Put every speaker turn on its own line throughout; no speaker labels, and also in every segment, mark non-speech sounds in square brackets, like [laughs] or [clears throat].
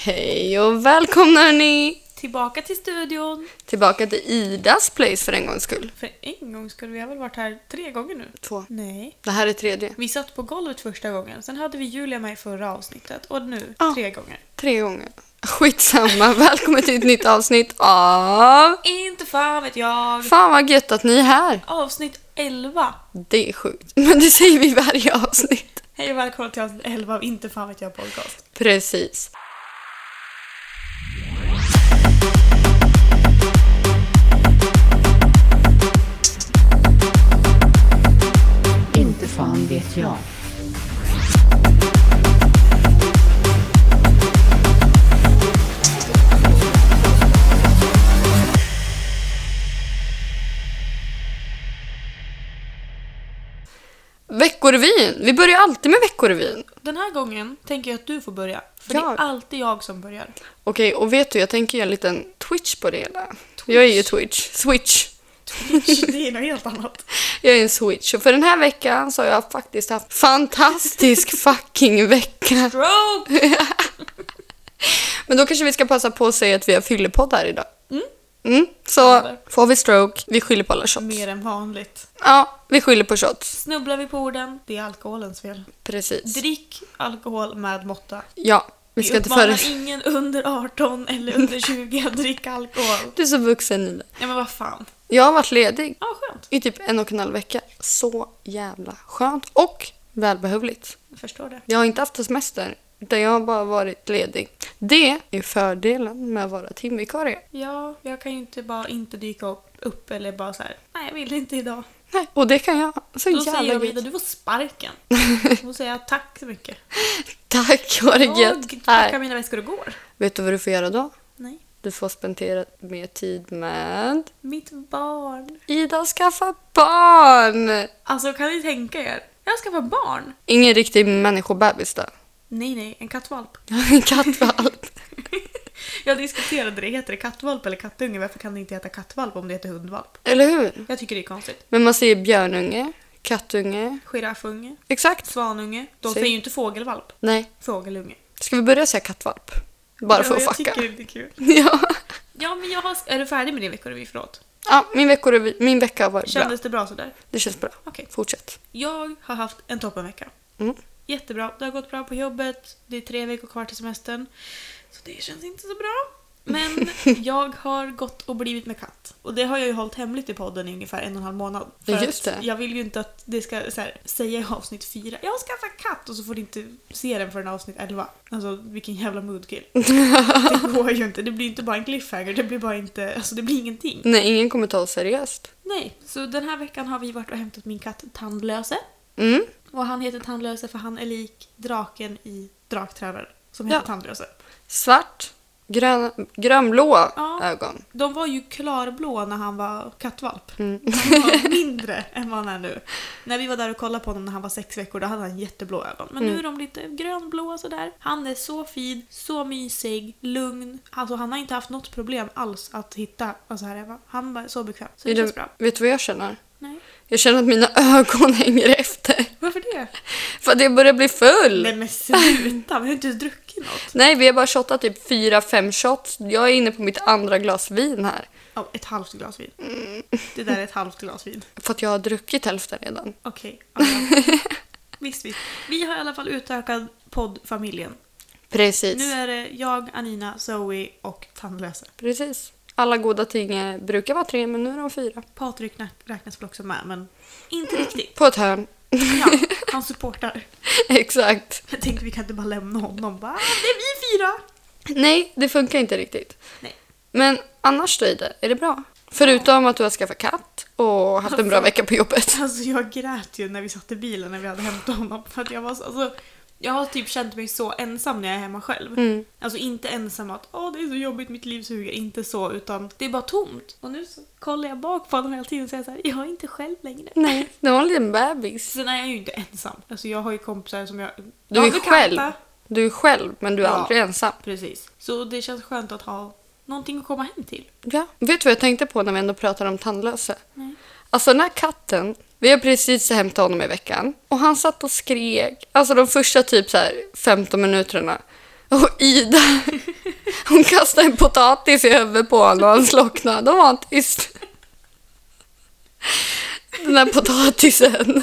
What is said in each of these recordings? Hej och välkomna hörni!
Tillbaka till studion.
Tillbaka till Idas place för en gångs skull.
För en gång skulle vi ha väl varit här tre gånger nu?
Två.
Nej.
Det här är tredje.
Vi satt på golvet första gången, sen hade vi Julia med i förra avsnittet och nu
Ja.
tre gånger.
Tre gånger. Skitsamma, välkommen till ett nytt avsnitt av...
Inte fan vet jag.
Fan vad gött att ni är här!
Avsnitt 11.
Det är sjukt, men det säger vi i varje avsnitt.
Hej och välkomna till avsnitt 11 av Inte fan vet jag podcast.
Precis.
Inte fan vet jag.
Veckorevyn! Vi börjar alltid med Veckorevyn.
Den här gången tänker jag att du får börja. För det
Ja.
är alltid jag som börjar.
Okej, och vet du, jag tänker göra en liten Twitch på det hela. Jag är ju Twitch. Switch.
[laughs] det är något helt annat.
Jag är en switch. Och för den här veckan så har jag faktiskt haft [laughs] fantastisk fucking vecka.
Stroke!
Men då kanske vi ska passa på att säga att vi har fyllepodd här idag. Mm, så
Eller?
får vi stroke, vi skyller på alla shots.
Mer än vanligt.
Ja, vi skyller på shots.
Snubblar vi på orden, det är alkoholens fel.
Precis.
Drick alkohol med måtta.
Ja, vi ska inte före...
uppmanar ingen under 18 eller under 20 att dricka alkohol.
Du är så vuxen Nina.
Ja men vad fan.
Jag har varit ledig
Ja skönt.
i typ en och en halv vecka. Så jävla skönt och välbehövligt.
Jag förstår det.
Jag har inte haft semester, utan jag har bara varit ledig. Det är fördelen med att vara timvikarie.
Ja, jag kan ju inte bara inte dyka upp, upp eller bara så här. nej jag vill inte idag.
Nej, och det kan jag. Så
Då
jävla
säger jag Vida,
gött.
du
[laughs]
får sparken. Då säger jag tack så mycket.
Tack, vad det är
Jag
gött. Här.
packar mina väskor och går.
Vet du vad du får göra då?
Nej.
Du får spendera mer tid med
Mitt barn.
Ida skaffa barn!
Alltså kan ni tänka er? Jag ska få barn.
Ingen riktig människobebis då. [laughs]
Nej nej, en kattvalp.
En kattvalp.
Jag diskuterade det, heter det kattvalp eller kattunge? Varför kan det inte heta kattvalp om det heter hundvalp?
[laughs] Eller hur?
Jag tycker det är konstigt.
Men man säger björnunge, kattunge.
Giraffunge,
Exakt.
svanunge. De
Se.
säger ju inte fågelvalp.
Nej.
Fågelunge.
Ska vi börja säga kattvalp? Bara för att
jag
fucka.
tycker det är kul.
[laughs] Ja.
Ja, men jag har... Är du färdig med din veckorevy? Förlåt.
ja, min, veckorevy, min vecka har varit bra.
Kändes det bra sådär?
Det känns bra.
Okej.
Fortsätt.
Jag har haft en toppenvecka.
Mm.
Jättebra. Det har gått bra på jobbet. Det är tre veckor kvar till semestern. Så det känns inte så bra.
[laughs]
Men jag har gått och blivit med katt. Och det har jag ju hållit hemligt i podden i ungefär en och en halv månad.
Ja, just
att
det.
Jag vill ju inte att det ska så här, säga i avsnitt fyra. Jag har skaffat katt och så får du inte se den förrän avsnitt 11. Alltså vilken
[laughs]
jävla moodkill. det går ju inte. Det blir inte bara en cliffhanger. Det blir bara inte... Alltså det blir ingenting.
Nej, ingen kommer ta oss seriöst.
Nej, så den här veckan har vi varit och hämtat min katt Tandlöse.
Mm.
Och han heter Tandlöse för han är lik draken i Draktränaren som heter
Ja.
Tandlöse.
Svart, grön, grönblå
Ja.
ögon.
De var ju klarblå när han var kattvalp.
Mm.
Han var mindre än vad han är nu. När vi var där och kollade på honom när han var sex veckor då hade han jätteblå ögon. Men
Mm.
nu är de lite grönblå sådär. Han är så fin, så mysig, lugn. Alltså han har inte haft något problem alls att hitta vad så här är. va? Han var så bekväm. Så det
Är det-
känns bra.
[laughs] Vet du vad jag känner?
Nej.
Jag känner att mina [laughs] ögon hänger efter.
Varför det?
För att jag börjar bli full.
Nej men sluta, vi har inte ens druckit något.
Nej, vi har bara shottat typ fyra fem shots. Jag är inne på mitt andra glas vin här.
Ja, ett halvt glas vin.
Mm.
Det där är ett halvt glas vin.
För att jag har druckit hälften redan.
Okej. ja. visst, visst. Vi har i alla fall utökat poddfamiljen.
Precis.
Nu är det jag, Anina, Zoe och Tandlöse.
Precis. Alla goda ting eh, brukar vara tre, men nu är de fyra.
Patrik nä- räknas väl också med, men inte riktigt.
På ett hörn. [laughs]
Ja, han supportar.
Exakt.
Jag tänkte vi kan inte bara lämna honom. Bara, "Ah, det är vi fyra!
Nej, det funkar inte riktigt.
Nej.
Men annars då, Ida, är det bra? Förutom att du har skaffat katt och haft en bra vecka på jobbet.
Alltså jag grät ju när vi satt i bilen när vi hade hämtat honom. För att jag var så, alltså, jag har typ känt mig så ensam när jag är hemma själv. Alltså inte ensam att åh det är så jobbigt, mitt liv suger. Inte så utan det är bara tomt. Och nu så kollar jag bak på honom hela tiden och säger så här, jag är inte själv längre.
Nej, det var en liten bebis.
Sen är jag ju inte ensam. Alltså jag har ju kompisar som jag...
Du
Ja,
är
bekanta.
själv. Du är själv, men du är
Ja.
aldrig ensam.
Precis. Så det känns skönt att ha någonting att komma hem till.
Ja. Vet du vad jag tänkte på när vi ändå pratade om tandlösa? Alltså den här katten, vi har precis hämtat honom i veckan och han satt och skrek, alltså de första typ så här 15 minuterna. Och Ida, Hon kastade en potatis i huvudet på honom och han slocknade. Då var han tyst. Den där potatisen.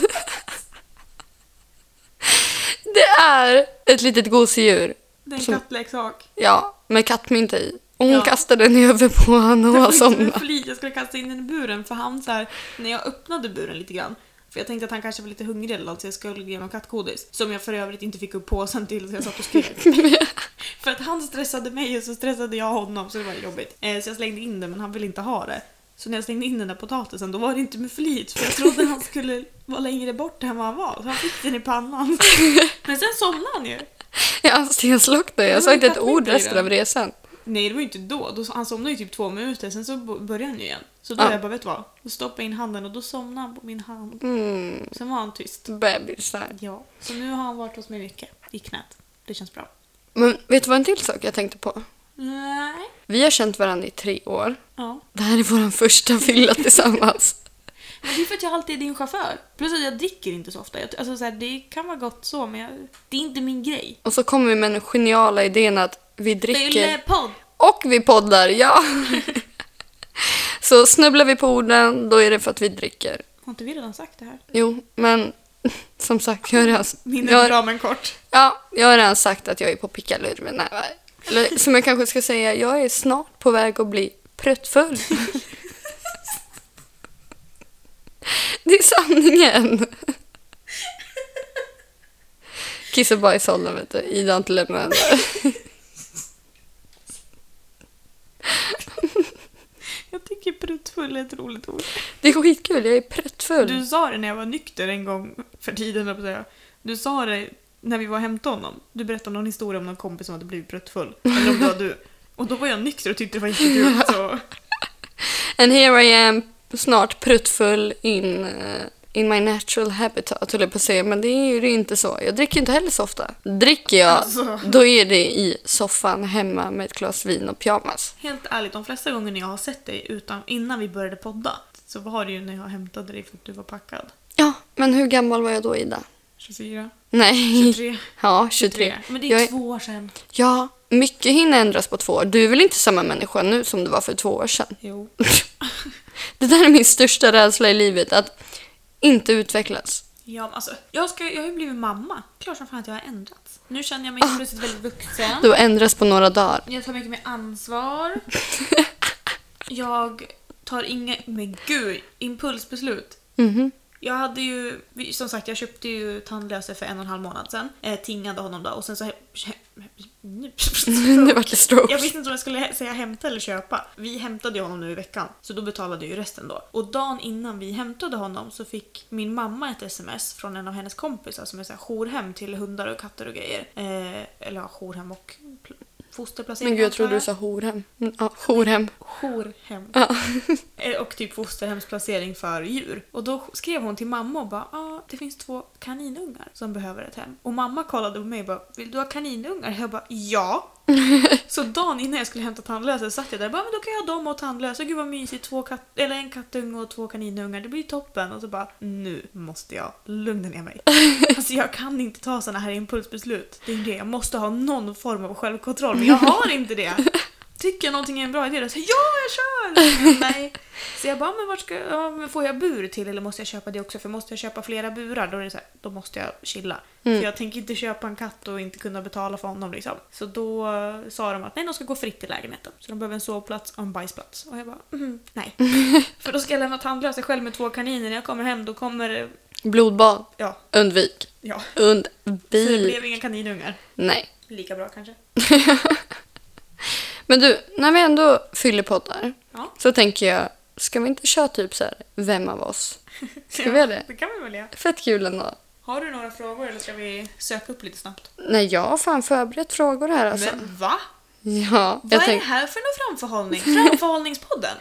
Det är ett litet gosedjur.
Det är en
Som- [laughs]
kattleksak.
Ja, med kattmynta i. Och hon
Ja.
kastade den i huvudet på honom och han
Jag skulle inte
somnade.
fly, jag skulle kasta in den i buren för han så här, när jag öppnade buren lite grann för jag tänkte att han kanske var lite hungrig eller något så jag skulle ge honom kattgodis. Som jag för övrigt inte fick upp påsen till så jag satt och skrek. [laughs] för att han stressade mig och så stressade jag honom så det var jobbigt. Eh, så jag slängde in den men han ville inte ha det. Så när jag slängde in den där potatisen då var det inte med flit för jag trodde han skulle vara längre bort än vad han var. Så han fick den
[laughs]
i pannan. men sen somnade han ju.
Ja, han stenslocknade. Jag sa
Men
inte ett
kattmynta
ord
i den.
resten av resan.
Nej, det var ju inte då. då han somnade ju typ två minuter, sen så bo- började han ju igen. Så då
Ja.
jag bara, vet du vad? Då stoppade jag in handen och då somnade han på min hand.
Mm,
Sen var han tyst.
bebisar.
Ja, så nu har han varit hos mig mycket. I knät. Det känns bra.
Men vet du vad en till sak jag tänkte på?
Nej.
Vi har känt varandra i tre år.
Ja.
Det här är vår första fylla tillsammans.
Men det är för att jag alltid är din chaufför. Plus att jag dricker inte så ofta. Jag, alltså, så här, det kan vara gott så, men jag, det är inte min grej.
Och så kommer vi med den geniala idén att vi dricker
Fyllepodd!
och vi poddar, [laughs] ja! Så snubblar vi på orden, då är det för att vi dricker.
Har inte vi redan sagt det här?
Jo, men [laughs] som sagt, jag alltså. har redan,
Minnet
jag,
är
har-
bra men kort.
ja, jag har redan sagt att jag är på pickalur med nävar. Eller som jag kanske ska säga, jag är snart på väg att bli pruttfull. Det är sanningen! Kiss och bajsåldern, vet du. Ida har inte lämnat henne.
Jag tycker pruttfull är ett roligt ord.
Det är skitkul, jag är pruttfull.
Du sa det när jag var nykter en gång för tiden, höll jag på att säga. Du sa det när vi var och hämtade honom. Du berättade någon historia om någon kompis som hade blivit bröttfull. Eller om det var du. Och då var jag nykter och tyckte det var jättekul. Så.
And here I am, snart pruttfull in, eh, in my natural habitat, höll jag på att säga. Men det är ju inte så. Jag dricker ju inte heller så ofta. Dricker jag,
Alltså.
då är det i soffan hemma med ett glas vin och pyjamas.
Helt ärligt, de flesta gånger när jag har sett dig utan, innan vi började podda så var det ju när jag hämtade dig för att du var packad.
Ja, men hur gammal var jag då, Ida?
[laughs] 24,
Nej.
23,
[laughs] Ja, 23.
3. Men det är
jag, är-
två år sedan.
ja, mycket hinner ändras på två år. Du är väl inte samma människa nu som du var för två år sedan? [laughs]
Jo.
Det där är min största rädsla i livet, att inte utvecklas.
Ja, men alltså, jag, ska, jag har ju blivit mamma. Klart som fan att jag har ändrats. Nu känner jag mig
Ah.
helt plötsligt väldigt vuxen.
Du ändras på några dagar.
Jag tar mycket mer
[laughs]
ansvar. Jag tar inga... Men gud! Impulsbeslut.
Mhm.
Jag hade ju, vi- som sagt jag köpte ju tandlöse för en och en halv månad sedan. Eh, tingade honom då och sen så... [laughs]
Det vart en stroke.
Jag visste inte om jag skulle hä- säga hämta eller köpa. Vi hämtade ju honom nu i veckan, så då betalade jag ju resten då. Och dagen innan vi hämtade honom så fick min mamma ett sms från en av hennes kompisar som är så här jourhem till hundar och katter och grejer. Eh, eller ja, jourhem och pl- fosterplacering.
Men gud, jag
antar
trodde du sa horhem. Mm, Ja, jourhem.
jourhem.
Ja.
[laughs] Eh, och typ fosterhemsplacering för djur. Och då skrev hon till mamma och bara ah, det finns två kaninungar som behöver ett hem. Och mamma kollade på mig och bara vill du ha kaninungar? Jag bara ja. så dagen innan jag skulle hämta tandlösa satt jag där och bara men då kan jag ha dem och tandlösa. Gud vad mysigt. Två katt, eller en kattunge och två kaninungar. Det blir ju toppen. Och så bara nu måste jag lugna ner mig. alltså jag kan inte ta såna här impulsbeslut. Det är det. Jag måste ha någon form av självkontroll men jag har inte det. Tycker jag någonting är en bra idé då säger jag ja, jag kör! Men Nej. Så jag bara, men vart ska ja, men får jag bur till eller måste jag köpa det också? För måste jag köpa flera burar då, är det så här, då måste jag chilla. För jag tänker inte köpa en katt och inte kunna betala för honom liksom. Så då eh, sa de att nej, de ska gå fritt i lägenheten. Så de behöver en sovplats och en bajsplats. Och jag bara, mm, nej. för då ska jag lämna tandlösa själv med två kaniner. När jag kommer hem då kommer det-
Blodbad.
ja,
Undvik.
ja. Så det
Undvik.
blev inga kaninungar.
Nej.
Lika bra kanske.
Men du, när vi ändå fyller poddar
Ja.
så tänker jag, ska vi inte köra typ så här, vem av
[laughs]
oss? Ska vi göra det?
Det kan vi väl göra.
Fett kul ändå.
Har du några frågor eller ska vi söka upp lite snabbt?
Nej, jag har fan förberett frågor här alltså.
Men va?
Ja,
Vad
jag
är
tänk,
det här för någon framförhållning? Framförhållningspodden?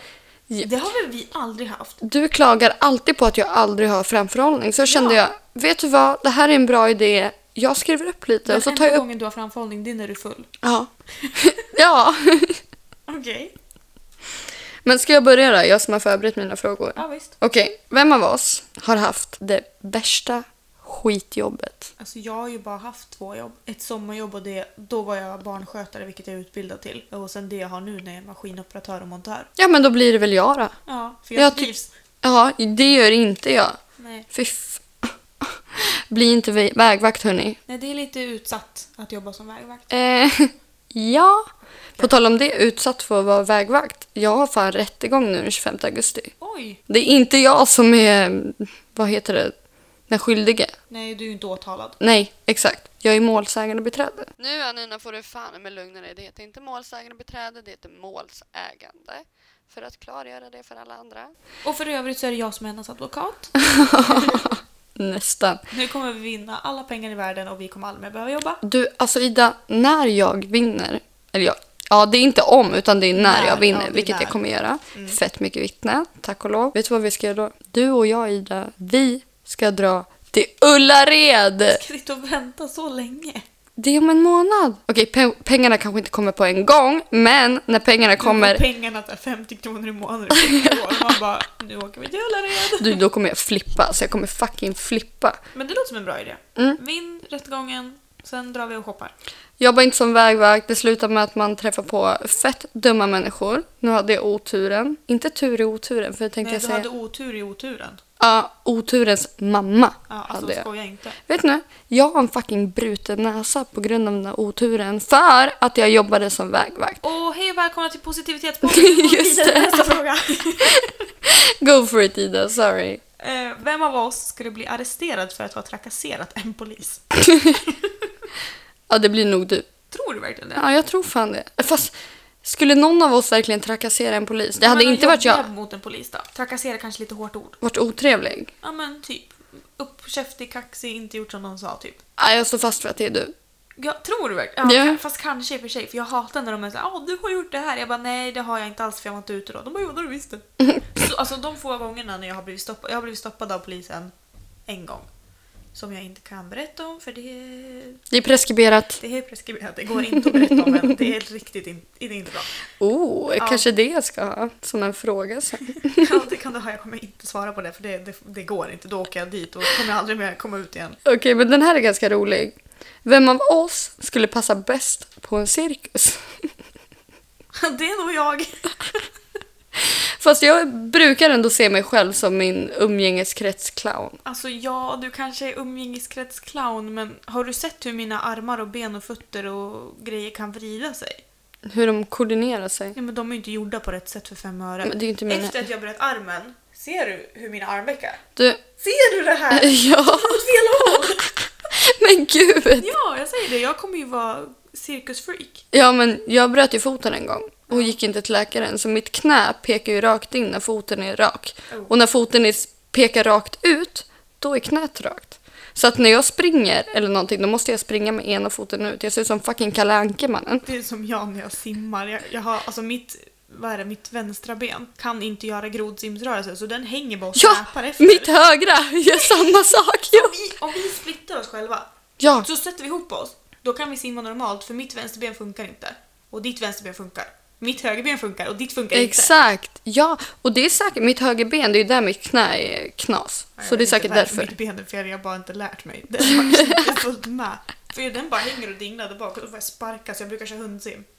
Ja.
Det har väl vi aldrig haft?
du klagar alltid på att jag aldrig har framförhållning. Så kände
Ja.
jag, vet du vad, det här är en bra idé. Jag skriver upp lite
Den
och så
enda
tar jag upp...
gången du har framförhållning, det är när du är full.
Ja. [laughs] ja.
Okej.
Men ska jag börja då? Jag som har förberett mina frågor.
Ja, visst.
Okej, vem av oss har haft det värsta skitjobbet.
Alltså jag har ju bara haft två jobb. Ett sommarjobb och det, då var jag barnskötare vilket jag är utbildad till. Och sen det jag har nu när jag är maskinoperatör och montör.
Ja, men då blir det väl jag då.
Ja, för jag,
Jag ty-
trivs.
Ja, det gör inte jag.
Nej.
Fy f- Bli inte vä- vägvakt hörni.
Nej, det är lite utsatt att jobba som vägvakt.
Eh, [laughs] ja. På tal om det, utsatt för att vara vägvakt. Jag har fan rättegång nu den 25 augusti.
Oj!
Det är inte jag som är, vad heter det, den skyldige.
Nej, du är ju inte åtalad.
Nej, exakt. Jag är målsägande beträde. Nu Anina får du fan med lugna dig. Det heter inte målsägande beträde, det heter målsägande. För att klargöra det för alla andra.
Och för övrigt så är det jag som är hennes advokat.
[laughs] Nästan.
Nu kommer vi vinna alla pengar i världen och vi kommer aldrig mer behöva jobba.
Du, alltså Ida, när jag vinner, eller jag, ja det är inte om utan det är när,
När,
jag vinner,
ja, det är
vilket
när. Mm.
jag kommer göra. Fett mycket vittne, tack och lov. Vet du vad vi ska göra då? Du och jag Ida, vi ska dra till Ullared!
Ska sitta och vänta så länge.
Det är om en månad. Okej, pe- pengarna kanske inte kommer på en gång, men när pengarna
Och
kommer,
pengarna tar 50 kronor i månaden i 50 år. Man bara, nu åker vi till Ullared.
du, då kommer jag flippa. Så jag kommer fucking flippa.
Men det låter som en bra idé.
Mm.
Vinn rättegången, sen drar vi och shoppar.
Jobba inte som vägvakt, det slutar med att man träffar på fett dumma människor. Nu hade jag oturen. Inte tur i oturen, för jag tänkte
Nej,
jag
du
säga...
hade otur i oturen.
Ja, oturens mamma
Ja, alltså
hade jag.
skoja inte.
Vet ni? Jag har en fucking bruten näsa på grund av den där oturen för att jag jobbade som vägvakt. [laughs]
Och hej och välkomna till positivitetspodden. Vi går
Just
vidare till
det.
Nästa fråga. [laughs]
Go for it Ida, sorry.
Eh, Vem av oss skulle bli arresterad för att ha trakasserat en polis?
Ja, det blir nog du.
Tror du verkligen det?
Ja, jag tror fan det. Fast skulle någon av oss verkligen trakassera en polis? Det hade
Men
inte varit jag.
jobba mot en polis då? Trakassera kanske lite hårt ord.
Varit otrevlig.
Ja men typ. Uppkäftig, kaxig, inte gjort som de sa typ.
Ja, jag står fast för att det är du.
Jag tror du verkligen? Ja,
Ja.
Fast kanske i och för sig, för jag hatar när de är såhär “Åh, du har gjort det här”. Jag bara “Nej, det har jag inte alls för jag var inte ute då”. De bara “Jo, det har du visst det”. Så, alltså de få gångerna när jag har blivit stoppad, jag har blivit stoppad av polisen en gång. Som jag inte kan berätta om för det är,
Det är preskriberat.
det är preskriberat. Det går inte att berätta om än. Det är riktigt in, det är inte bra.
Oh, kanske det jag ska ha som en fråga sen.
Ja, det kan du ha. Jag kommer inte svara på det för det, det, det går inte. Då åker jag dit och kommer aldrig mer komma ut igen. [laughs]
Okej, men den här är ganska rolig. Vem av oss skulle passa bäst på en cirkus?
Det är nog jag.
Fast jag brukar ändå se mig själv som min umgängeskretsclown.
Alltså ja, du kanske är umgängeskretsclown men har du sett hur mina armar och ben och fötter och grejer kan vrida sig?
Hur de koordinerar sig.
Ja, men de är ju inte gjorda på rätt sätt för fem öre.
Men det är ju inte mina...
Efter att jag bröt armen, ser du hur mina armveckar?
Du... [laughs]
Ser du det här?
Ja,
Åt fel håll!
men gud!
Ja, jag säger det. Jag kommer ju vara cirkusfreak.
Ja, men jag bröt ju foten en gång och gick inte till läkaren så mitt knä pekar ju rakt in när foten är rak.
Oh.
Och när foten är, pekar rakt ut, då är knät rakt. Så att när jag springer eller någonting, då måste jag springa med ena foten ut. Jag ser ut som fucking Kalle Anka, mannen.
Det är som jag när jag simmar. Jag, jag har, alltså mitt, vad är det, mitt vänstra ben kan inte göra grodsimsrörelser så den hänger bara och
Ja,
släpar efter.
mitt högra gör samma sak. Ja.
Om vi, om vi splittar oss själva
ja,
Så sätter vi ihop oss. Då kan vi simma normalt för mitt vänsterben funkar inte. Och ditt vänsterben funkar. Mitt högerben funkar och ditt funkar inte.
exakt. Ja, och det är säkert mitt högerben, det är ju där mitt knä är knas.
Nej,
Så
jag
det är
vet
säkert
inte varför
därför.
Mitt ben är fel, jag har bara inte lärt mig. [laughs] Den har liksom inte följt med. För den bara hänger och dinglar där bak och då får jag sparka så jag brukar köra hundsim. [laughs]
[laughs]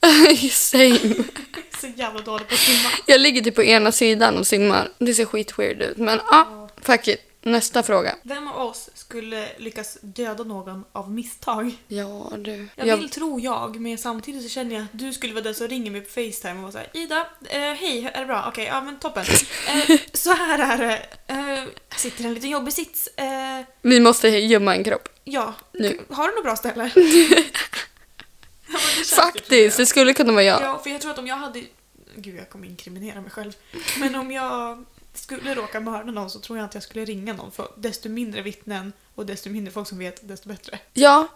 Same.
Jag är Så jävla dålig på att simma.
Jag ligger typ på ena sidan och simmar. Det ser skit weird ut, men ja, fuck it. Nästa fråga.
Vem av oss skulle lyckas döda någon av misstag?
Ja, du.
Jag,
Jag-
vill tro jag, men samtidigt så känner jag att du skulle vara den som ringer mig på Facetime och vara såhär Ida, eh, hej, är det bra? Okej, ja
[laughs]
men toppen. Eh, så här är det. Eh, jag sitter i en liten jobbig sits. Eh,
Vi måste gömma en kropp.
ja,
Nu.
har du något
[laughs]
bra ställe? Ja, men det känns typ
Faktiskt,
som
det skulle kunna vara
jag.
jag.
Ja, för jag tror att om jag hade... Gud, jag kommer inkriminera mig själv. Men om jag skulle råka mörda någon så tror jag att jag skulle ringa någon för desto mindre vittnen och desto mindre folk som vet, desto bättre.
Ja,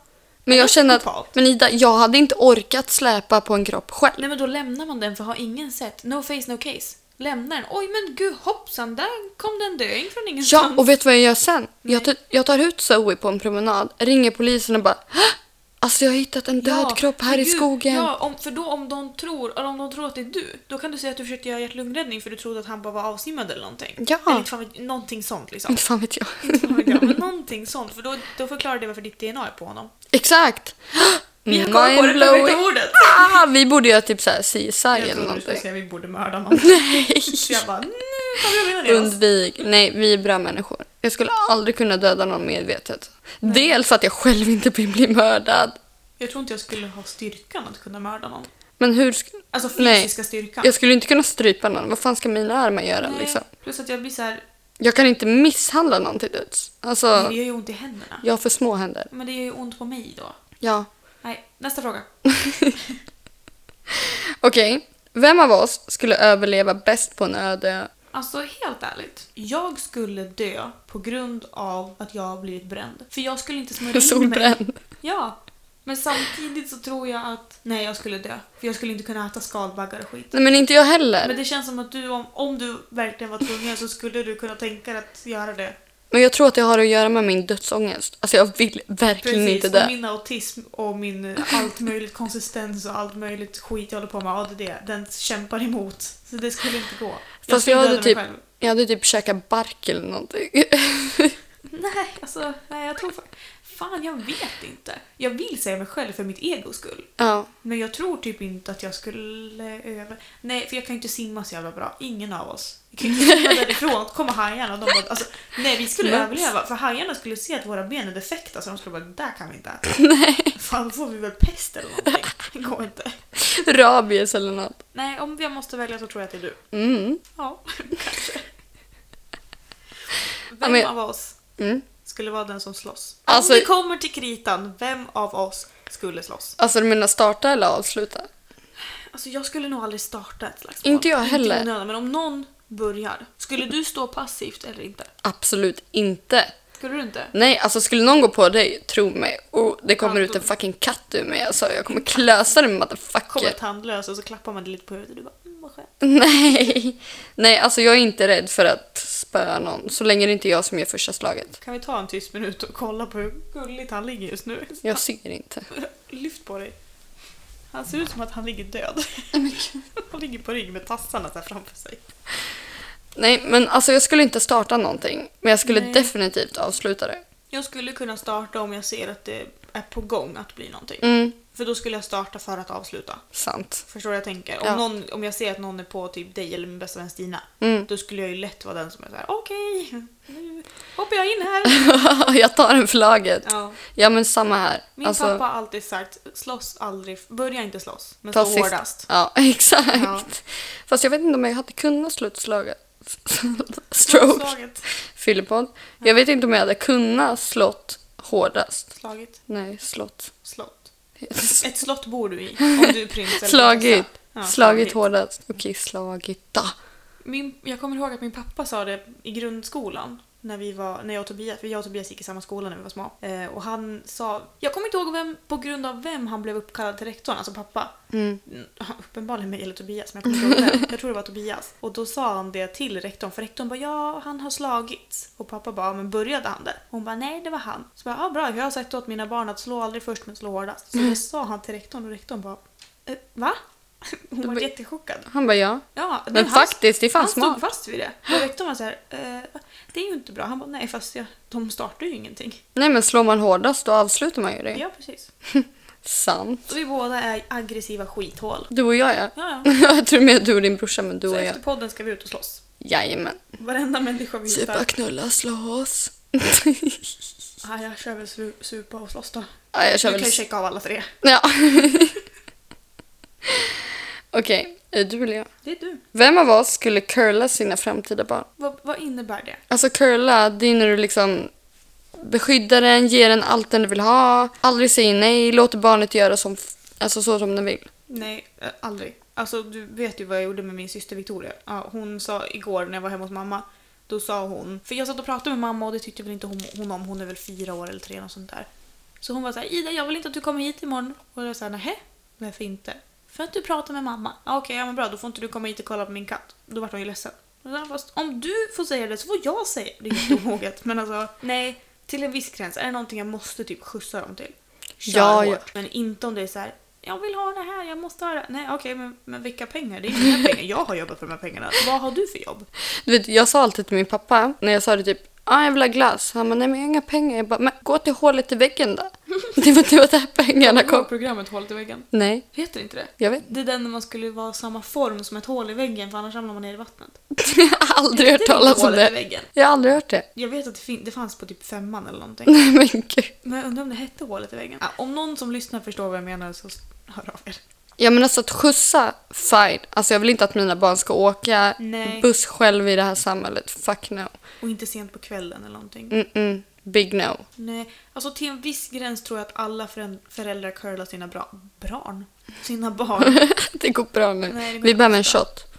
men jag
Jag är
känner att...
psykopat.
Men Ida, jag hade inte orkat släpa på en kropp själv.
Nej men då lämnar man den för har ingen sett. No face, no case. Lämnar den. Oj men gud hoppsan, där kom den döing från
Ja,
ingenstans.
och vet du vad jag gör sen? Jag, tar- jag tar ut Zoe på en promenad, ringer polisen och bara "Hä? Alltså jag har hittat en död
Ja,
kropp här
men
i
gud,
skogen.
Ja, om, för då om de, tror, eller om de tror att det är du, då kan du säga att du försökte göra hjärt-lungräddning för du trodde att han bara var avsvimmad eller någonting.
Ja.
Eller inte fan vet- någonting sånt
[laughs]
liksom. [laughs]
Inte fan vet jag. [laughs]
Inte fan vet jag, men någonting sånt. För då, då förklarar det varför ditt DNA är på honom.
Exakt!
Vi har kommit på det perfekta ordet!
Ah, vi borde göra typ såhär CSI
Jag
eller
trodde du skulle
någonting.
säga att vi borde mörda någon.
[laughs] Nej!
Så jag bara, nu tar vi och menar det. oss."
[laughs] Undvik. Nej, vi är bra människor. Jag skulle aldrig kunna döda någon medvetet. Dels för att jag själv inte vill bli mördad.
Jag tror inte jag skulle ha styrkan att kunna mörda någon.
Men hur... sk-
Alltså
Nej.
fysiska styrkan.
Jag skulle inte kunna strypa någon. Vad fan ska mina armar göra
Nej,
liksom?
Plus att jag blir så här,
Jag kan inte misshandla någon till döds.
det
Alltså,
gör ju ont i händerna.
jag har för små händer.
Men det gör ju ont på mig då.
Ja.
Nej, nästa fråga.
Okej. Vem av oss skulle överleva bäst på en öde...
Alltså helt ärligt, jag skulle dö på grund av att jag har blivit bränd. För jag skulle inte smörja in mig.
Solbränd?
Ja, men samtidigt så tror jag att nej, jag skulle dö. För jag skulle inte kunna äta skalbaggar och skit.
Nej men inte jag heller.
Men det känns som att du, om, om du verkligen var tvungen så skulle du kunna tänka dig att göra det.
Men jag tror att det har att göra med min dödsångest. Alltså jag vill verkligen
Precis,
inte
och
dö.
min autism och min allt möjligt konsistens och allt möjligt skit jag håller på med, ADD, den kämpar emot. Så det skulle inte gå. Jag
Fast
skulle
jag hade
döda mig
typ,
själv.
jag hade typ käkat bark eller någonting. [laughs]
Nej, alltså nej, jag tror fa- Fan, jag vet inte. Jag vill säga mig själv för mitt egos skull.
ja.
Men jag tror typ inte att jag skulle över... Nej, för jag kan ju inte simma så jävla bra. Ingen av oss. Vi kan ju inte [laughs] simma därifrån. Kommer hajarna och de bara... Alltså, nej, vi skulle
Mums.
överleva. För hajarna skulle se att våra ben är defekta så de skulle bara, där kan vi inte. [laughs] Nej. Fan, då får vi väl pest eller någonting. Det går inte.
Rabies eller något.
Nej, om jag måste välja så tror jag att det är du.
Mm.
Ja, [laughs] kanske. Vem
men-
av oss
Mm.
skulle vara den som slåss.
Alltså-
Om vi kommer till kritan, vem av oss skulle slåss?
Alltså du menar starta eller avsluta?
Alltså jag skulle nog aldrig starta ett slagsmål.
Inte jag heller.
i onödan, men om någon börjar, skulle du stå passivt eller inte?
Absolut inte.
Skulle du inte?
Nej, alltså skulle någon gå på dig, tro mig. Och det kommer
Ja,
ut
då-
en fucking katt ur mig. Alltså jag kommer klösa dig
Kommer
motherfucker.
tandlös och så klappar man dig lite på huvudet och du bara mm, vad skönt.
[laughs] Nej. Nej, alltså jag är inte rädd för att spöa någon. Så länge det inte är jag som gör första slaget.
Kan vi ta en tyst minut och kolla på hur gulligt han ligger just nu?
Jag ser inte.
Lyft på dig. Han ser ut som att han
[laughs]
ligger död. han ligger på rygg med tassarna så här framför sig.
Nej, men alltså jag skulle inte starta någonting. Men jag skulle
Nej.
definitivt avsluta det.
Jag skulle kunna starta om jag ser att det är på gång att bli någonting.
Mm,
För då skulle jag starta för att avsluta.
sant.
Förstår du vad jag tänker? Om,
Ja.
någon, om jag ser att någon är på typ dig eller min bästa vän Stina,
Mm. [laughs]
då skulle jag ju lätt vara den som är såhär okej, nu hoppar jag
[laughs]
in här.
jag tar en för laget. Ja.
Ja.
men samma här.
Min
Alltså,
pappa har alltid sagt slåss aldrig, börja inte slåss, men
ta
slå
sist- [laughs]
hårdast.
Ja, exakt.
Ja.
Fast jag vet inte om jag hade kunnat slutslaget. [laughs] Stroke.
Slaget,
Fyllepodd. Jag vet inte om jag hade kunnat slått hårdast.
slaget,
Nej, slått.
slott. Ett slott bor du i om du är prins eller
Slagit.
prinsessa. Ja,
Slagit hårdast. Okej, slagit då.
Min, jag kommer ihåg att min pappa sa det i grundskolan. När, vi var, när jag, och Tobias, för jag och Tobias gick i samma skola när vi var små. Eh, och han sa, jag kommer inte ihåg vem, på grund av vem han blev uppkallad till rektorn, alltså pappa.
Mm.
Mm, Uppenbarligen mig eller Tobias, men jag kommer inte ihåg vem. Jag tror det var Tobias. Och då sa han det till rektorn, för rektorn bara ja, han har slagits. Och pappa bara, men började han där? Hon bara, nej det var han. Så bara, ja bra, jag har sagt åt mina barn att slå aldrig först men slå hårdast.
Mm.
Så det sa han till rektorn och rektorn bara, eh, va? [laughs] Hon var
Men-
jättechockad.
Han bara ja.
Ja, det
Men
är hans-
faktiskt, det är fan
han stod
smart.
fast vid det. Och rektorn var så här, eh, det är ju inte bra. Han bara, nej fast jag, de startar ju ingenting.
Nej men slår man hårdast då avslutar man ju det.
Ja, precis.
Sant.
Så vi båda är aggressiva skithål.
Du och jag ja. [laughs]
Ja, ja.
jag tror mer du och din brorsa men du
Så
och jag.
efter podden ska vi ut och slåss.
Jajamän.
Varenda människa vi
Supa,
hittar.
knulla,
[laughs]
slås.
Ja, "Ah, jag kör väl su- supa och slåss då.
ja, jag kör
du
väl...
kan ju checka av alla tre.
Ja. [laughs] Okej, är det du eller jag?
Det är du.
Vem av oss skulle curla sina framtida barn?
Vad, vad innebär det?
Alltså curla, det är när du liksom beskyddar den, ger den allt den vill ha, aldrig säger nej, låter barnet göra som, alltså så som den vill.
Nej, eh, aldrig. Alltså du vet ju vad jag gjorde med min syster Victoria. Ja, hon sa igår när jag var hemma hos mamma, då sa hon... För jag satt och pratade med mamma och det tyckte väl inte hon, hon om. Hon är väl fyra år eller tre och sånt där. Så hon var så här, Ida jag vill inte att du kommer hit imorgon. Och jag sa nähä, varför inte? För att du pratar med mamma. Ja, Okej, ja men bra då får inte du komma hit och kolla på min katt. Då vart hon ju ledsen. Och sen, Fast om du får säga det så får jag [laughs] säga det. Det är jätteomoget men alltså nej. Till en viss gräns, är det någonting jag måste typ skjutsa dem till? Kör
Ja, ja.
hårt. Men inte om det är så här. Jag vill ha det här, jag måste ha det. Nej okej, men, men vilka pengar? Det är mina pengar. Jag har jobbat för de här pengarna. Vad har du för jobb?
Du vet, jag sa alltid till min pappa när jag sa det typ ah, jag vill ha glass. Han bara, nej men jag har inga pengar. Jag bara, men gå till hålet i väggen då. [laughs] Det var, typ det var där pengarna kom.
programmet Hålet i väggen?
Nej,
Heter inte det?
jag vet
Det är den när man skulle vara samma form som ett hål i väggen för annars ramlar man ner i vattnet.
Jag har aldrig hört
Det är
talas om
hålet i
det.
väggen.
Jag har aldrig hört det. [laughs]
Jag vet att det, fin- det fanns på typ femman eller någonting.
Nej men gud.
Men jag undrar om det hette hålet i väggen. Ja, om någon som lyssnar förstår vad jag menar så s- hör av er.
Ja men alltså att skjutsa, fine. Alltså jag vill inte att mina barn ska åka
Nej.
buss själv i det här samhället. Fuck no.
Och inte sent på kvällen eller någonting.
Mm-mm. Big no.
Nej, alltså till en viss gräns tror jag att alla föräld- föräldrar curlar sina bra- barn.
[laughs]
Sina barn.
Det går bra nu.
Nej, det går
Vi behöver en
inte.
shot.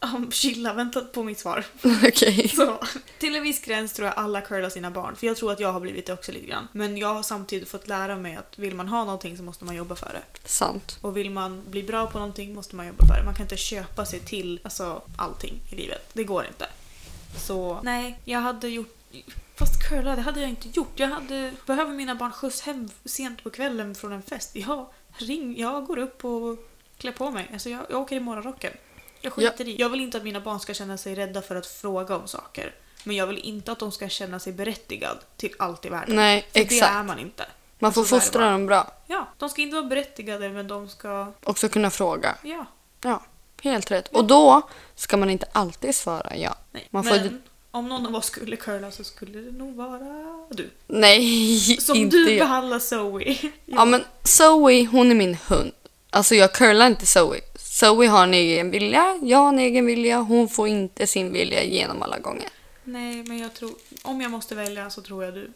Um, [laughs] chilla, vänta på mitt svar.
[laughs] Okej.
Så, till en viss gräns tror jag alla curlar sina barn. För jag tror att jag har blivit det också lite grann. Men jag har samtidigt fått lära mig att vill man ha någonting så måste man jobba för det.
Sant.
Och vill man bli bra på någonting måste man jobba för det. Man kan inte köpa sig till alltså, allting i livet. Det går inte. Så nej, jag hade gjort... Fast curla, det hade jag inte gjort. Jag hade... Behöver mina barn skjuts hem sent på kvällen från en fest? Ja, ring. Jag går upp och klär på mig. Alltså jag, jag åker i morgonrocken. Jag skiter i. Jag vill inte att mina barn ska känna sig rädda för att fråga om saker. Men jag vill inte att de ska känna sig berättigad till allt i världen.
Nej,
för
exakt.
det är man inte.
Man får
Alltså, så är det
fostra
bara.
dem bra.
Ja, de ska inte vara berättigade men de ska...
Också kunna fråga.
Ja.
Ja, helt rätt. Och då ska man inte alltid svara ja.
Nej,
Man får
men
ju-
om någon av oss skulle curla så skulle det nog vara du.
Nej,
Som
inte
du
jag.
behandlar Zoe. [laughs]
Ja, men Zoe, hon är min hund. Alltså jag curlar inte Zoe. Zoe har en egen vilja, jag har en egen vilja. Hon får inte sin vilja igenom alla gånger.
Nej, men jag tror... Om jag måste välja så tror jag du.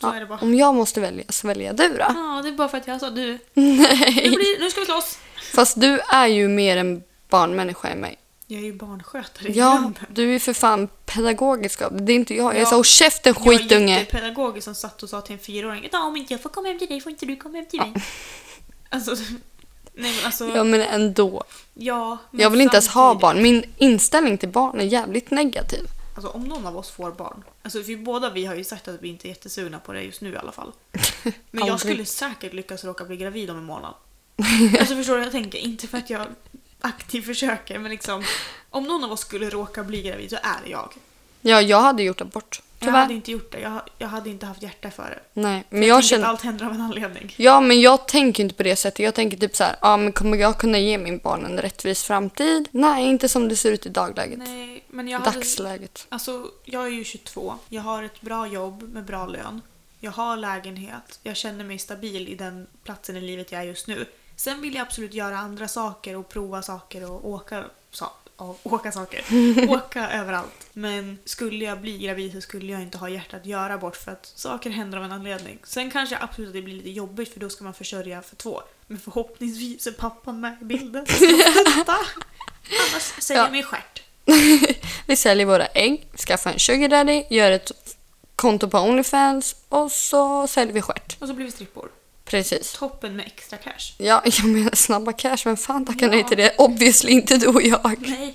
Så
Ja,
är det bara.
om jag måste välja så väljer jag du då. [laughs]
Ja, det är bara för att jag sa du. Nu,
Nej.
blir, nu ska vi slåss!
Fast du är ju mer en barnmänniska än mig.
Jag är ju barnskötare i
Ja,
grunden.
du är för fan pedagogisk av dig. Det är inte jag. Jag är
Ja.
så "Håll käften
Jag är
skitunge.
jättepedagogisk som satt och sa till en fyraåring att om inte jag får komma hem till dig får inte du komma hem till mig. Alltså... Nej men alltså...
Ja, men ändå.
Ja, men
Jag vill inte ens ha
samtidigt-
barn. Min inställning till barn är jävligt negativ.
Alltså om någon av oss får barn. Alltså för båda vi har ju sagt att vi inte är jättesugna på det just nu i
[laughs]
alla fall. Men jag
Aldrig.
skulle säkert lyckas råka bli gravid om
[laughs]
en månad. Alltså förstår du vad jag tänker? Inte för att jag aktivt försöker men liksom om någon av oss skulle råka bli gravid så är det jag.
Ja, jag hade gjort abort.
Jag
Tyvärr.
hade inte gjort det. Jag, jag hade inte haft hjärta för det.
Nej, men
Jag,
jag
tänker att
känner...
allt händer av en anledning.
Ja, men jag tänker inte på det sättet. Jag tänker typ så här, ja, men kommer jag kunna ge min barn en rättvis framtid? Nej, inte som det ser ut i dagläget.
Nej, men jag hade...
Dagsläget. [laughs]
Alltså jag är ju 22. Jag har ett bra jobb med bra lön. Jag har lägenhet. Jag känner mig stabil i den platsen i livet jag är just nu. Sen vill jag absolut göra andra saker och prova saker och åka, sa- och åka saker. åka överallt. Men skulle jag bli gravid så skulle jag inte ha hjärta att göra bort för att saker händer av en anledning. Sen kanske absolut att det blir lite jobbigt för då ska man försörja för två. Men förhoppningsvis är pappan med i bilden. Annars säger
Ja.
jag mig stjärt.
Vi säljer våra ägg, skaffar en sugar daddy, gör ett konto på Onlyfans och så säljer vi stjärt.
Och så blir vi strippor.
Precis.
toppen med extra cash.
Ja, [laughs] jag menar snabba cash. Vem fan tackar
Ja.
nej till det? Obviously inte du och jag.
Nej.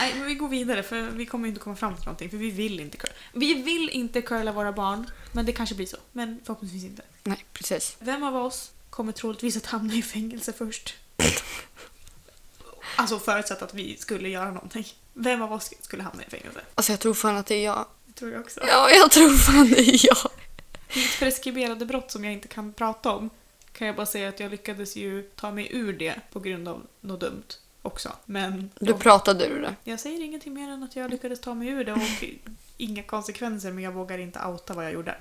Nej, men vi går vidare för vi kommer ju inte komma fram till någonting för vi vill inte curla. Vi vill inte curla våra barn, men det kanske blir så. Men förhoppningsvis inte.
Nej, precis.
Vem av oss kommer troligtvis att hamna i fängelse först? Alltså förutsatt att vi skulle göra någonting. Vem av oss skulle hamna i fängelse?
Alltså jag tror fan att det är jag.
Det tror jag också.
Ja, jag tror fan det är jag.
Mitt preskriberade brott som jag inte kan prata om kan jag bara säga att jag lyckades ju ta mig ur det på grund av något dumt också. Men
Du pratade ur det.
Jag säger ingenting mer än att jag lyckades ta mig ur det och inga konsekvenser men jag vågar inte outa vad jag gjorde.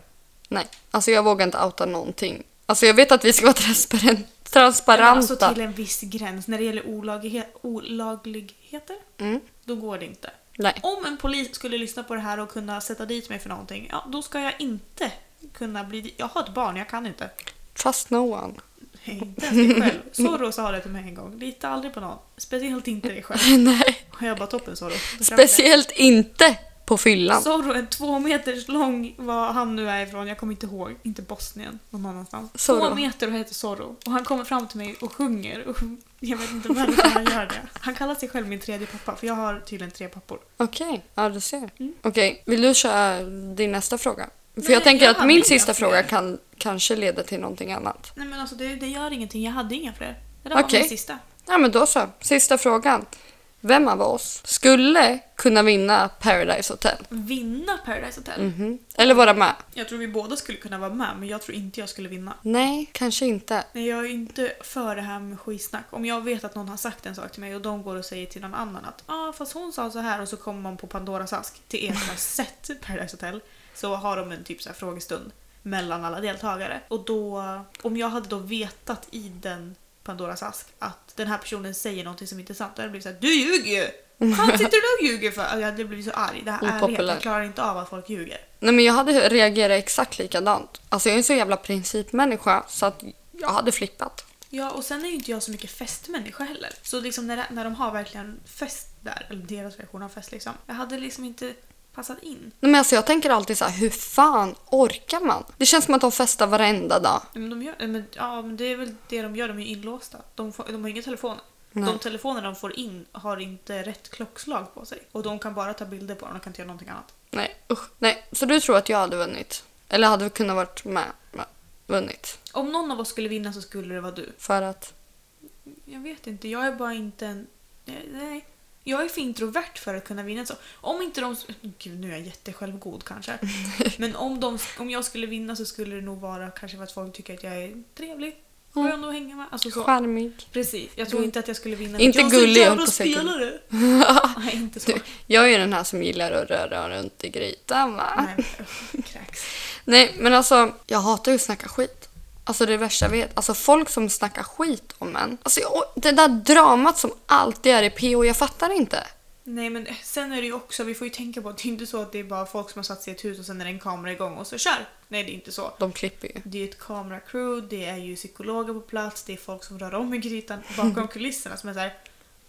Nej, alltså jag vågar inte outa någonting. Alltså jag vet att vi ska vara transparent, transparenta.
Alltså till en viss gräns. När det gäller olaglighet, olagligheter,
Mm.
då går det inte.
Nej,
Om en polis skulle lyssna på det här och kunna sätta dit mig för någonting, ja då ska jag inte kunna bli... Jag har ett barn, jag kan inte.
trust no one.
Inte ens
[laughs]
dig själv. Zorro sa det till mig en gång. Lita aldrig på någon. Speciellt inte dig
[laughs]
själv.
Nej,
Och jag bara toppen Zorro.
speciellt inte på fyllan.
Zorro är två meters lång, var han nu är ifrån, jag kommer inte ihåg. Inte Bosnien, någon annanstans.
Zorro.
Två meter och heter Zorro. Och han kommer fram till mig och sjunger. Och [laughs] jag vet inte varför han gör det. Han kallar sig själv min tredje pappa, för jag har tydligen tre pappor.
Mm. Okej, ja du ser. Okej, vill du köra din nästa fråga? För jag tänker
jag
att
hade
min
inga
sista
fler.
fråga kan kanske leda till någonting annat.
Nej men alltså det, det gör ingenting, jag hade inga fler. Det där var
Okej.
min sista.
Ja, men då så. Sista frågan. Vem av oss skulle kunna vinna Paradise Hotel?
Vinna Paradise Hotel?
Mhm. Eller vara med?
Jag tror vi båda skulle kunna vara med men jag tror inte jag skulle vinna.
Nej, kanske inte.
Nej jag är inte för det här med skitsnack. Om jag vet att någon har sagt en sak till mig och de går och säger till någon annan att ja ah, fast hon sa så här och så kommer man på Pandoras ask till er som har sett Paradise Hotel så har de en typ så här frågestund mellan alla deltagare. Och då, om jag hade då vetat i den Pandoras ask att den här personen säger någonting som inte är sant då hade det blivit såhär du ljuger ju! Fan sitter du och ljuger för? Alltså, jag hade blivit så arg. Det här är ärlighet,
Opopulär.
jag klarar inte av att folk ljuger.
Nej, men jag hade reagerat exakt likadant. Alltså, jag är en så jävla principmänniska så att jag hade flippat.
Ja, och sen är ju inte jag så mycket festmänniska heller. Så liksom när, när de har verkligen fest där, eller deras version av fest liksom. Jag hade liksom inte passat in.
Nej, men alltså, jag tänker alltid så här, hur fan orkar man? Det känns som att de festar varenda dag.
Men, de gör, men, ja, men det är väl det de gör, de är ju inlåsta. De, får, de har inga telefoner.
Nej.
De telefoner de får in har inte rätt klockslag på sig. Och de kan bara ta bilder på dem, de kan inte göra någonting annat.
Nej, usch. Nej, så du tror att jag hade vunnit? Eller hade kunnat varit med? med vunnit?
Om någon av oss skulle vinna så skulle det vara du.
För att...
Jag vet inte, jag är bara inte en... Nej. Jag är för introvert för att kunna vinna så. Om inte de... Gud, nu är jag
[laughs]
jättesjälvgod kanske. Men om, de, om jag skulle vinna så skulle det nog vara kanske för att folk tycker att jag är trevlig. Skön att hänga med. Alltså så. [laughs]
Charmig.
Precis. Jag tror inte att jag skulle vinna.
Mm. Inte
jag är så
gullig, jag höll
jävla
på att säga [laughs]
spelare. Nej, inte så.
Du, jag är ju den här som gillar att röra runt i grytan va? Nej.
Nej, men, usch, kräks.
men alltså, jag hatar ju att snacka skit. Alltså det är det värsta jag vet. Alltså folk som snackar skit om en. Alltså jag, det där dramat som alltid är i PO, jag fattar inte.
Nej men eh, sen är det ju också, vi får ju tänka på att det är inte så att det är bara folk som har satt sig i ett hus och sen är det en kamera igång och så kör. Nej det är inte så.
De klipper ju.
Det är ett kameracrew, det är ju psykologer på plats, det är folk som rör om
[laughs]
i grytan bakom kulisserna som är såhär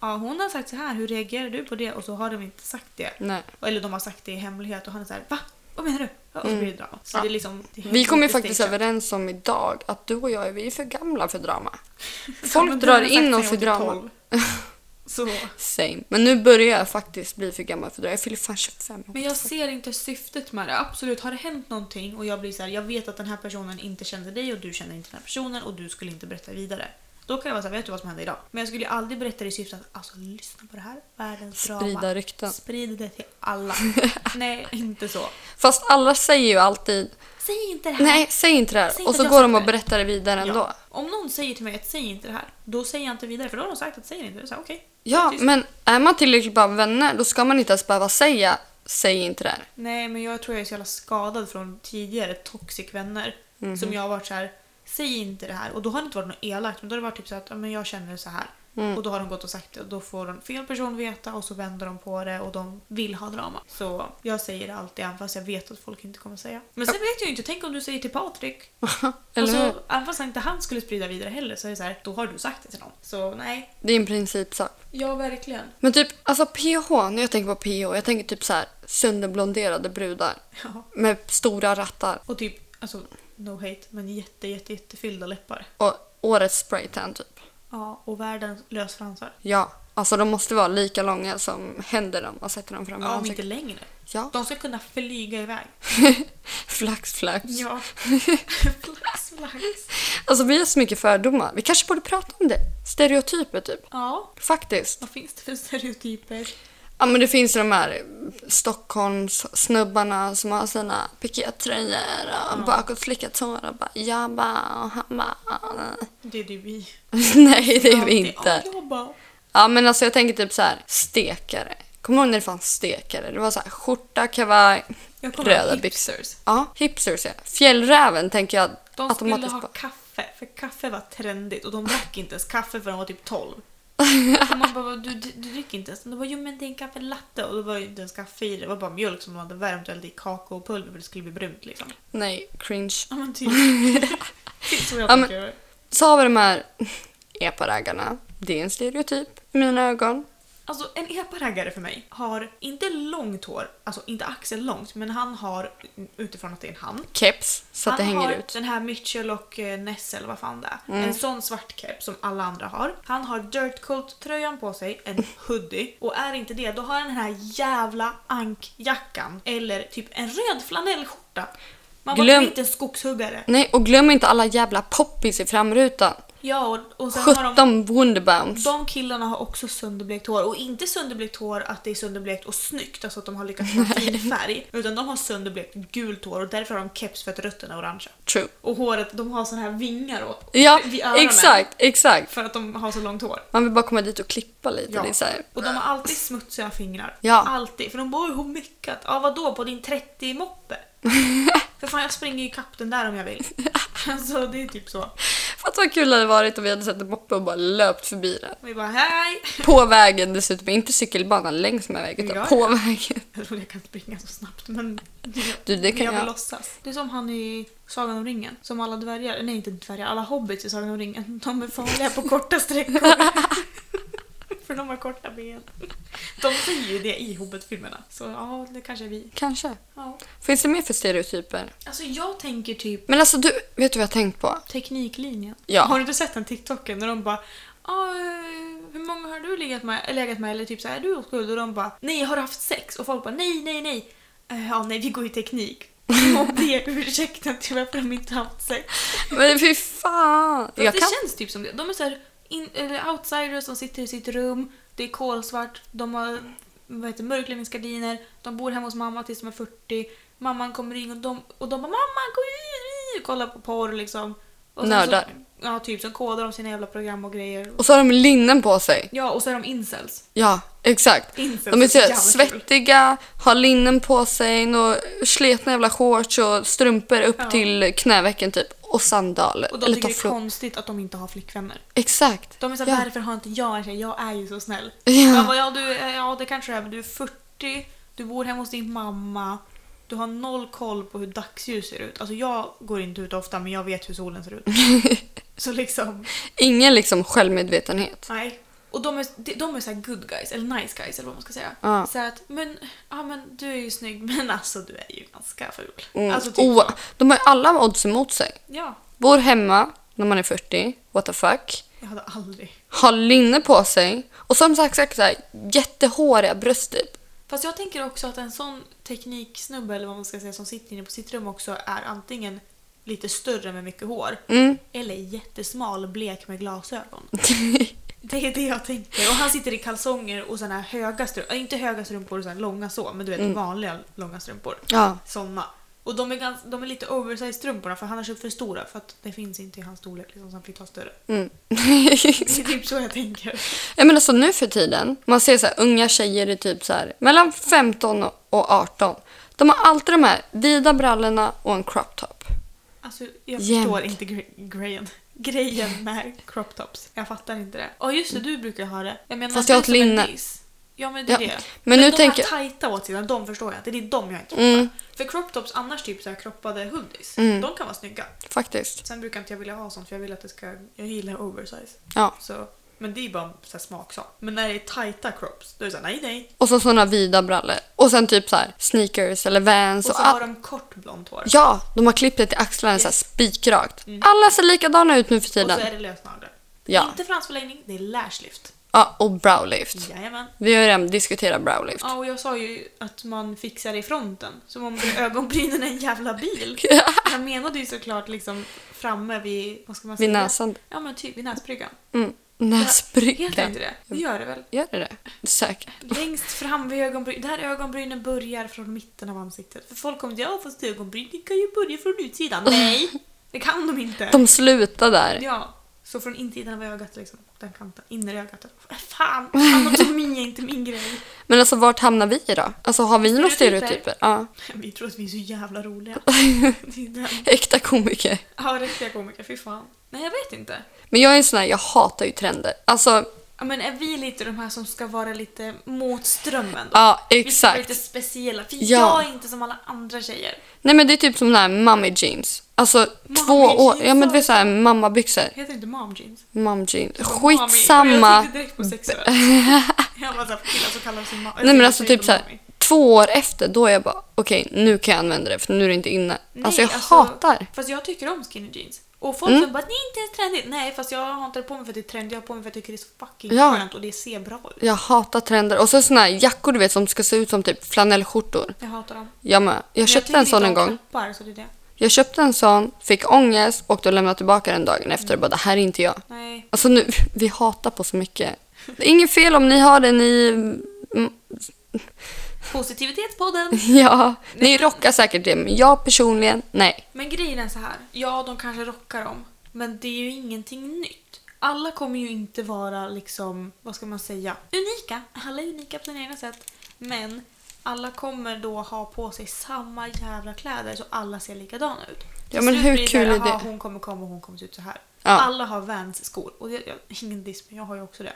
Ja hon har sagt så här, hur reagerar du på det? Och så har de inte sagt det.
Nej.
Eller de har sagt det i hemlighet och han är såhär va? Vad menar du? Ja, Och så blir det drama. Så
Mm. Ja.
det är liksom, det är
Vi kom ju
lite
faktiskt
stageat.
överens om idag att du och jag är, vi är för gamla för drama.
Ja, men
Folk
du
drar
har sagt
in
sen
oss i
jag var typ
drama.
12.
[laughs]
Så.
Same. Men nu börjar jag faktiskt bli för gammal för det. Jag fyller fan 25 om
Men jag ser inte syftet med det. Absolut, har det hänt någonting och jag blir så här, jag vet att den här personen inte kände dig och du känner inte den här personen och du skulle inte berätta vidare. Då kan jag vara såhär, vet du vad som hände idag? Men jag skulle ju aldrig berätta det i syfte att alltså lyssna på det här, världens drama.
sprida rykten.
Sprid det till
[laughs]
alla. Nej, inte så.
Fast alla säger ju alltid
Säg inte det här.
nej, säg inte det här.
Säg inte
och så
att jag
går
sa
de
det.
och berättar det vidare ändå.
Ja. Om någon säger till mig att säg inte det här, då säger jag inte vidare för då har de sagt att säg inte det. Så här, okej.
Ja,
Tyst.
men är man tillräckligt bra vänner då ska man inte ens behöva säga säg inte det här. [laughs]
Nej, men jag tror jag är så jävla skadad från tidigare toxic vänner.
Mhm.
Som jag har varit så här, säg inte det här. Och då har det inte varit något elakt, men då har det varit typ så att ja, men jag känner så här.
Mm.
Och då har de gått och sagt det och då får en fel person veta och så vänder de på det och de vill ha drama. Så jag säger det alltid även fast jag vet att folk inte kommer säga. Men sen vet jag ju inte, tänk om du säger till Patrik.
Eller
och så,
hur?
även fast inte han skulle sprida vidare heller så är det så här, då har du sagt det till någon. Så nej.
Det är en principsak.
Ja, verkligen.
Men typ, alltså PH, när jag tänker på PH, jag tänker typ så här sönderblonderade brudar
Ja.
med stora rattar
Och typ, alltså no hate, men jätte, jätte, jättefyllda läppar.
och årets spraytan typ.
Ja, och världens lösfransar.
Ja, alltså de måste vara lika långa som händer dem och sätter dem framför
Ja, om inte
ansiktet.
längre.
Ja,
De ska kunna flyga iväg.
[laughs] flax flax.
[laughs] flax, flax.
[laughs] Alltså vi har så mycket fördomar. Vi kanske borde prata om det. Stereotyper typ.
Ja,
Faktiskt.
vad finns det för stereotyper?
Ja men det finns ju de här Stockholms snubbarna som har sina pikétröjor och bakåtslickat hår och bara jag bara och han bara.
Det är det vi.
[laughs] Nej det är vi
Alltid
inte.
avjobbar.
Ja men alltså jag tänker typ så här stekare. Kommer du ihåg när det fanns stekare? Det var så här skjorta, kavaj,
Jag kommer
röda
ihåg
byxor.
hipsters.
Ja, hipsters ja. Fjällräven tänker jag
De skulle
automatiskt
ha
på.
kaffe, för kaffe var trendigt och de drack inte ens kaffe förrän de var typ 12.
[laughs]
Och man bara, du, du, du dricker inte ens. De bara, jo men det är en kaffelatte. Och då var ju inte ens kaffe i det. Det var bara mjölk som de hade värmt och hällt i kakaopulver för det skulle bli brunt liksom.
Nej, cringe.
Ja men [laughs] typ. typ som jag
Ja, men-
tänker.
Så har vi de här [laughs] eparaggarna. Det är en stereotyp i mina ögon.
Alltså en epa-raggare för mig har inte långt hår, alltså inte axellångt, men han har utifrån att det är en han.
Keps, så att
han
det hänger
har
ut. Mm.
den här Mitchell och eh, Ness eller vad fan det är. En sån svart keps som alla andra har. Han har dirt coat tröjan på sig,
[laughs]
en hoodie. Och är inte det, då har han den här jävla ankjackan. Eller typ en röd flanellskjorta. Man var
Glöm-
inte en skogshuggare.
Nej, och glöm inte alla jävla poppis i framrutan.
Ja, och, och sen har de...
17 Wunderbaums.
De killarna har också sönderblekt hår och inte sönderblekt hår att det är sönderblekt och snyggt, alltså att de har lyckats få fin färg. Utan de har sönderblekt gult hår och därför har de keps för att rötterna är orangea.
True.
Och håret, de har såna här vingar åt,
Ja,
vid öronen.
exakt, exakt.
För att de har så långt hår.
Man vill bara komma dit och klippa lite.
Ja.
Det är så här.
Och de har alltid smutsiga fingrar.
Ja.
Alltid. För de bara "Oj, hur mycket? Ja vadå på din 30-moppe? för fan jag springer ju ikapp den där om jag vill. alltså det är typ så.
Fattar vad kul det hade varit om vi hade sett en moppe och bara löpt förbi den.
Vi bara hej!
På vägen dessutom, inte cykelbanan längs med vägen utan
Ja, ja.
på vägen. [laughs]
Jag tror jag kan springa så snabbt men
Du, det kan
jag vill
jag.
låtsas. Det är som han i Sagan om ringen. Som alla dvärgar, nej inte dvärgar, alla hobbits i Sagan om ringen. De är farliga på
[laughs]
korta sträckor. för de har korta ben. De säger ju det i Hobbit-filmerna. Så ja, det kanske är vi.
Kanske.
Ja.
Finns det mer för stereotyper?
Alltså jag tänker typ
Men alltså du, vet du vad jag har tänkt på?
Tekniklinjen.
Ja.
Har du inte sett den TikToken när de bara "Ja, eh, hur många har du legat med, legat med? eller typ så här, är du oskuld? Och de bara nej, har du haft sex? Och folk bara nej, nej, nej. Eh, Ja, nej, vi går i teknik. Och det är ursäkten till varför de inte har haft sex.
Men fy fan!
För att
Jag
det
kan...
känns typ som det. De är så här, in, eller outsiders som sitter i sitt rum, det är kolsvart, de har vad heter, det, mörkläggningsgardiner, de bor hemma hos mamma tills de är 40, mamman kommer in och de, och de bara “mamma, gå in!” och kollar på porr liksom. Och sen
Nördar.
Så, ja, typ. Sen kodar de sina jävla program och grejer.
Och så har de linnen på sig.
Ja, och så är de incels.
Ja, exakt.
Incels
De är så
jävla
här
kul.
svettiga, har linnen på sig, och sletna jävla shorts och strumpor upp
Ja.
till knävecken typ. Och sandaler.
Och de
eller
tycker det är
tofflor.
konstigt att de inte har flickvänner.
Exakt.
De är såhär,
Ja.
varför har inte jag en tjej? Jag är ju så snäll.
Ja.
Jag bara, ja, du, eh, ja det kanske du är, men du är 40, du bor hemma hos din mamma, du har noll koll på hur dagsljus ser ut. Alltså jag går inte ut ofta, men jag vet hur
[laughs]
solen ser ut. så liksom,
[laughs] Ingen liksom självmedvetenhet.
nej. Och de är, de- de är såhär good guys, eller nice guys eller vad man ska säga.
Ja.
Så att, men, ja men du är ju snygg, [laughs] men alltså du är ju ganska ful.
Mm.
Alltså typ
oh,
så.
de har ju alla odds emot sig.
Ja,
Bor hemma när man är 40, what the fuck.
jag hade aldrig.
Har linne på sig. Och som sagt, sagt så här, jättehåriga bröst typ.
Fast jag tänker också att en sån tekniksnubbe eller vad man ska säga som sitter inne på sitt rum också är antingen lite större med mycket hår
Mm.
eller jättesmal blek med
[laughs]
glasögon. Det är det jag tänker. Och han sitter i kalsonger och såna här höga strumpor, äh, inte höga strumpor och såna här långa så, men du vet vanliga långa strumpor.
Mm. Ja.
Såna. Och de är, ganska, de är lite oversized strumporna för han har köpt för stora för att det finns inte i hans storlek liksom, så han fick ta större.
Mm. [laughs]
Det är typ så jag tänker.
Jag menar så alltså nu för tiden, man ser så här, unga tjejer i typ så här, mellan 15 och- och 18. De har alltid de här vida brallorna och en crop top.
Alltså jag
Jämt.
förstår inte gre- grejen. Grejen med crop tops. Jag fattar inte det. Ja just det, du brukar ha det. Jag menar,
Fast
man
jag har
ser ut
ett
som en
linne.
nis. Ja men det är
Ja,
det.
men nu
de
tänker-
här tajta åtsidorna, de förstår jag inte. Det är de jag inte fattar.
Mm,
För crop tops annars typ så här kroppade hoodies. De kan vara snygga.
faktiskt.
Sen brukar inte jag vilja ha sånt för jag vill att det ska... Jag gillar oversize.
Ja.
Så, men det är bara en så här smaksak. Men när det är tajta crops, då är det såhär nej nej.
Och så såna vida brallor. Och sen typ så här, sneakers eller Vans.
Och så
Och all...
har de kort blont hår.
Ja, de har klippt det till axlarna så här
Yes. Mm.
spikrakt. Alla ser likadana ut nu för
och så
tiden.
är det lösnaglar.
Ja.
Inte fransförlängning, det är lashlift.
Ja, och browlift.
Jajamän.
Vi har ju redan diskuterat browlift.
Ja, och jag sa ju att man fixar i fronten. Som om ögonbrynen är en
[laughs]
jävla bil. Jag menade ju såklart liksom framme vid, vad ska man säga?
Vid näsan.
Ja, men typ vid näsbryggan.
Mm.
Heter
Näsbryggan.
inte det? Det gör det väl?
Gör det det? Säkert.
Längst fram vid ögonbrynen. Där ögonbrynen börjar från mitten av ansiktet. För folk kommer till ja fast ögonbryn det kan ju börja från
[laughs]
utsidan. Nej! Det kan de inte.
De slutar där.
Ja. Så från insidan av ögat liksom. Den kanten. Innerögat. Fan! Anatomi är inte min grej.
Men alltså vart hamnar vi då? Alltså har vi några
Stereotyper?
stereotyper? Ja.
Vi tror att vi är så
[laughs]
jävla roliga. Det är den
Äkta komiker.
Ja, riktiga komiker, fy fan. Nej, jag vet inte.
Men jag är en sån här, jag hatar ju trender. Alltså,
Ja, men är vi lite de här som ska vara lite mot strömmen? Då?
ja
vi ska vara lite
exakt.
speciella, för
Ja.
jag är inte som alla andra tjejer.
Nej men det är typ som den här mommy jeans. Alltså två
jeans,
år, ja men du vet
alltså.
såhär mammabyxor.
Heter det inte mom jeans?
Mom jeans.
Mommy. Och Jag
Skitsamma.
tänkte direkt på sexuellt.
[laughs]
jag bara såhär, för killar som kallar sin mamma.
Nej men alltså typ såhär, två år efter då är jag bara okej nu kan jag använda det för nu är det inte inne. alltså jag hatar.
Fast jag tycker om skinny jeans. Och folk
Mm.
som bara, det är inte ens trendigt. Nej, fast jag har inte det på mig för att det är trendigt. Jag har på mig för att jag tycker det är så fucking
Ja.
skönt och det ser bra ut.
Jag hatar trender. Och så såna här jackor du vet som ska se ut som typ flanellskjortor.
Jag hatar dem.
Jag med. Jag
Men
köpte
tycker
en sån
inte
en
om
gång.
Knoppar, så det är det.
Jag köpte en sån, fick ångest och då lämnade jag tillbaka den dagen efter och bara det här är inte jag.
Nej.
Alltså nu, [laughs] vi hatar på så mycket. Det är inget fel om ni har det, ni... mm, [laughs]
Positivitetspodden!
Ja, ni rockar säkert det, men jag personligen, nej.
Men grejen är så här. Ja, de kanske rockar dem. Men det är ju ingenting nytt. Alla kommer ju inte vara liksom, vad ska man säga, unika. Alla är unika på sina egna sätt. Men alla kommer då ha på sig samma jävla kläder så alla ser likadana ut.
Ja, men hur
Till slut
kul
blir
är
"Jaha,
det?"
"Ah, Hon kommer komma och hon kommer se ut så här.
Ja.
Alla har Vans-skor. Och det, jag, ingen diss, men jag har ju också det.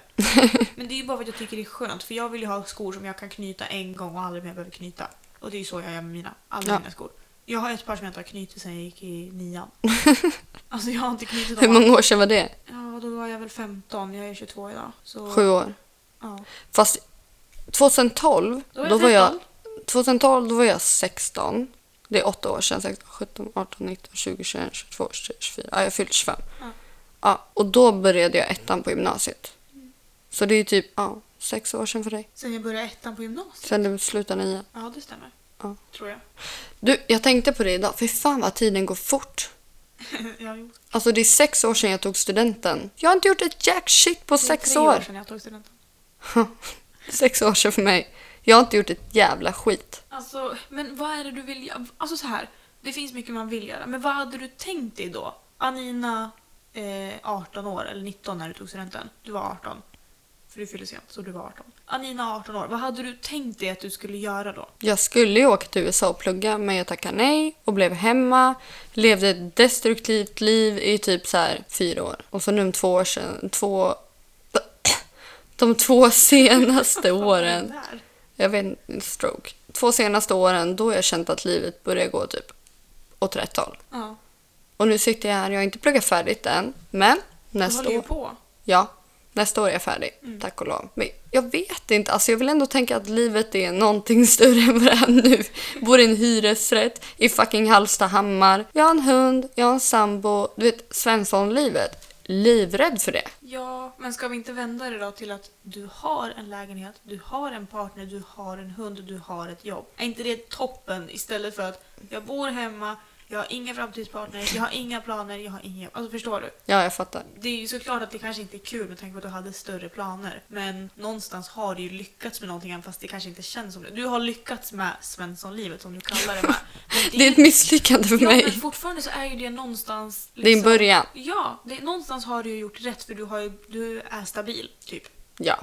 men det är ju bara för att jag tycker det är skönt. För jag vill ju ha skor som jag kan knyta en gång och aldrig mer behöver knyta. Och det är ju så jag gör med mina, alla
Ja.
mina skor. Jag har ett par som jag inte har knutit sedan jag gick i
[laughs]
nian. alltså jag har inte knutit
Hur
dem.
många år sedan var det?
Ja, då var jag väl 15. Jag är 22 idag. Så,
Sju år.
Ja.
Fast 2012,
Då var
då
jag
var jag,
13.
2012 då var jag 16. Det är åtta år sedan, 16, 17, 18, 19, 20, 21, 22, 23, 24. Ja, jag fyllde 25.
Ja.
Ja, och då började jag ettan på gymnasiet. Så det är ju typ ja, sex år sedan för dig.
Sen jag började ettan på gymnasiet.
Sen du slutade nian.
Ja, det stämmer.
Ja.
Tror jag. [laughs]
Du, jag tänkte på det idag. Fy fan vad tiden går fort.
ja, jo.
Alltså det är sex år sedan jag tog studenten. Jag har inte gjort ett jack shit på
Det är
sex
tre
år.
sedan jag tog studenten.
[laughs] Sex år sedan för mig. Jag har inte gjort ett jävla skit.
Alltså, men vad är det du vill göra? Alltså så här, det finns mycket man vill göra. Men vad hade du tänkt dig då? Anina, eh, 18 år, eller 19 när du tog studenten. Du var 18. För du fyllde sent, så du var 18. Anina, 18 år. Vad hade du tänkt dig att du skulle göra då?
Jag skulle ju åka till USA och plugga men jag tackade nej och blev hemma. Levde ett destruktivt liv i typ så här fyra år. Och så nu om två år sedan, två... [clears throat] De två
[laughs]
senaste åren.
Där.
Jag vet inte, stroke. Två senaste åren då har jag känt att livet börjar gå typ åt rätt håll.
Ja.
Och nu sitter jag här, jag har inte pluggat färdigt än. Men
Du
nästa
håller ju
år.
på.
Ja, nästa år är jag färdig.
Mm.
Tack och lov. Men jag vet inte. Alltså jag vill ändå tänka att livet är någonting [laughs] större än vad det är nu. Bor i en hyresrätt i fucking Hallstahammar. Jag har en hund, jag har en sambo. Du vet, Svensson-livet. Livrädd för det.
Ja, men ska vi inte vända det då till att du har en lägenhet, du har en partner, du har en hund, du har ett jobb. Är inte det toppen istället för att jag bor hemma, jag har inga framtidspartner, jag har inga planer, jag har inga... Alltså förstår du?
Ja, jag fattar.
Det är ju såklart att det kanske inte är kul med tanke på att du hade större planer. Men någonstans har du ju lyckats med någonting även fast det kanske inte känns som det. Du har lyckats med Svenssonlivet som du kallar det med.
[laughs]
Men
Det är ett misslyckande för
Ja, men liksom.
mig.
fortfarande så är ju det någonstans... liksom-
Det är en början.
Ja, det, någonstans har du ju gjort rätt för du, har ju, du är stabil, typ.
Ja.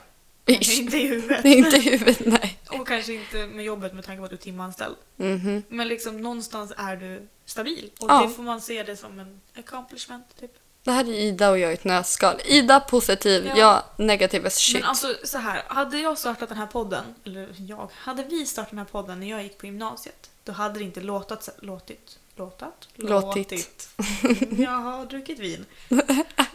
[laughs]
Kanske
Ish.
inte i huvudet.
Det är inte i huvudet, nej.
Och kanske inte med jobbet med tanke på att du är timanställd.
Mhm.
Men liksom någonstans är du stabil. Och
Ja.
det får man se det som en accomplishment, typ.
Det här är Ida och jag i ett nötskal. Ida positiv,
Ja.
jag negativ as shit.
Men alltså så här, hade jag startat den här podden, eller jag, hade vi startat den här podden när jag gick på gymnasiet, då hade det inte låtat, låtit, låtat?
Låtit. [laughs]
Mm, Jag har druckit vin.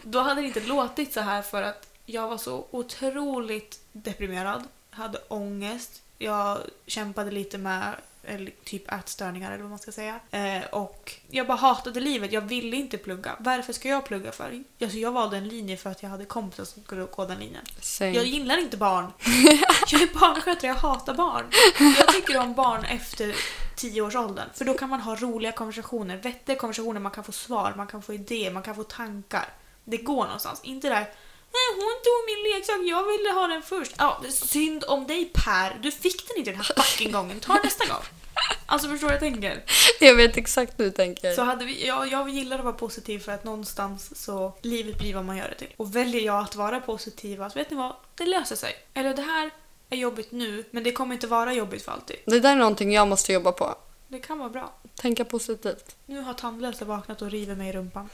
Då hade det inte låtit så här för att jag var så otroligt deprimerad, hade ångest, jag kämpade lite med eller typ ätstörningar eller vad man ska säga. Eh, och jag bara hatade livet, jag ville inte plugga. Varför ska jag plugga för? Alltså jag valde en linje för att jag hade kompisar som skulle gå den linjen.
Same.
alltså, Jag gillar inte barn. Jag är barnskötare, jag hatar barn. Jag tycker om barn efter tioårsåldern. För då kan man ha roliga konversationer, vettiga konversationer, man kan få svar, man kan få idéer, man kan få tankar. Det går någonstans. Inte där Nej, hon tog min leksak, jag ville ha den först. Ja, det är synd om dig Per, du fick den inte den här fucking gången. Ta den nästa gång. Alltså förstår du vad jag tänker?
Jag vet exakt hur du tänker.
Så hade vi, jag, jag gillar att vara positiv för att någonstans så livet blir vad man gör det till. Och väljer jag att vara positiv, att vet ni vad, det löser sig. Eller det här är jobbigt nu, men det kommer inte vara jobbigt för alltid.
Det där är någonting jag måste jobba på.
Det kan vara bra.
Tänka positivt.
Nu har tandlösa vaknat och river mig i rumpan.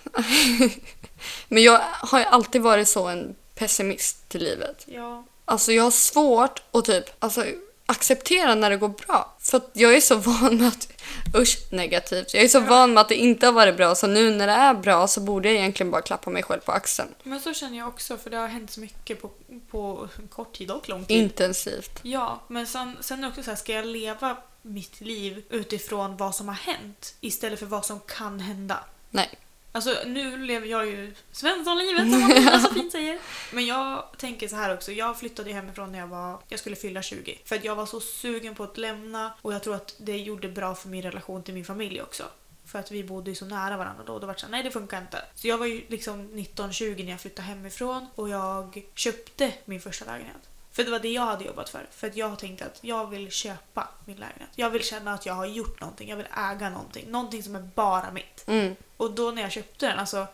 Men jag har ju alltid varit så en pessimist till livet.
Ja.
Alltså jag har svårt att typ alltså, acceptera när det går bra. För att jag är så [laughs] van med att... Usch, negativt. Jag är så van med att det inte har varit bra så nu när det är bra så borde jag egentligen bara klappa mig själv på axeln.
Men så känner jag också, för det har hänt så mycket på, på kort tid och lång tid.
Intensivt.
Ja, men sen, sen är det också så här, ska jag leva mitt liv utifrån vad som har hänt istället för vad som kan hända?
Nej.
Alltså nu lever jag ju Svenssonlivet som man så fint säger. Men jag tänker så här också, jag flyttade ju hemifrån när jag var, jag skulle fylla 20. För att jag var så sugen på att lämna och jag tror att det gjorde bra för min relation till min familj också. För att vi bodde ju så nära varandra då och då var det såhär, nej det funkar inte. Så jag var ju liksom 19-20 när jag flyttade hemifrån och jag köpte min första lägenhet. För det var det jag hade jobbat för. För att jag tänkte att jag vill köpa min lägenhet. Jag vill känna att jag har gjort någonting, jag vill äga någonting. Någonting som är bara mitt.
Mm.
Och då när jag köpte den, alltså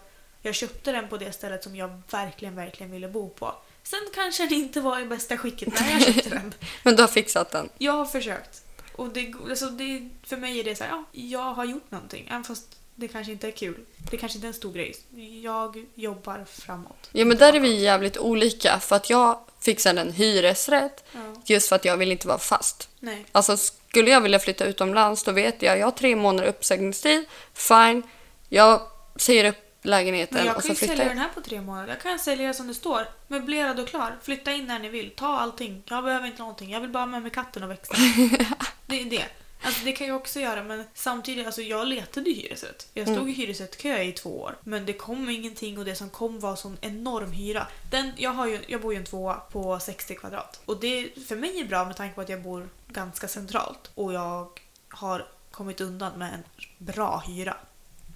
jag köpte den på det stället som jag verkligen, verkligen ville bo på. Sen kanske den inte var i bästa skicket när jag köpte [laughs] den.
Men du har fixat den.
Jag har försökt. Och det, alltså det, för mig är det så här, ja, jag har gjort någonting. Även fast det kanske inte är kul. Det kanske inte är en stor grej. Jag jobbar framåt.
Ja, men där är vi jävligt olika för att jag fixade en hyresrätt
Ja.
just för att jag vill inte vara fast.
Nej.
Alltså skulle jag vilja flytta utomlands då vet jag, jag har tre månader uppsägningstid, fine, jag säger upp
Men
lägenheten
jag
och
kan
så
ju
flyttar
sälja
jag.
den här på tre månader. Jag kan sälja den som det står. Möblerad och klar. Flytta in när ni vill. Ta allting. Jag behöver inte någonting. Jag vill bara ha med mig katten och växten. det är det. Alltså det kan jag också göra men samtidigt, alltså jag letade ju hyresrätt. Jag stod i hyresrättkö i två år. Men det kom ingenting och det som kom var sån enorm hyra. Den, jag, har ju, jag bor ju i en tvåa på 60 kvadrat. Och det för mig är bra med tanke på att jag bor ganska centralt. Och jag har kommit undan med en bra hyra.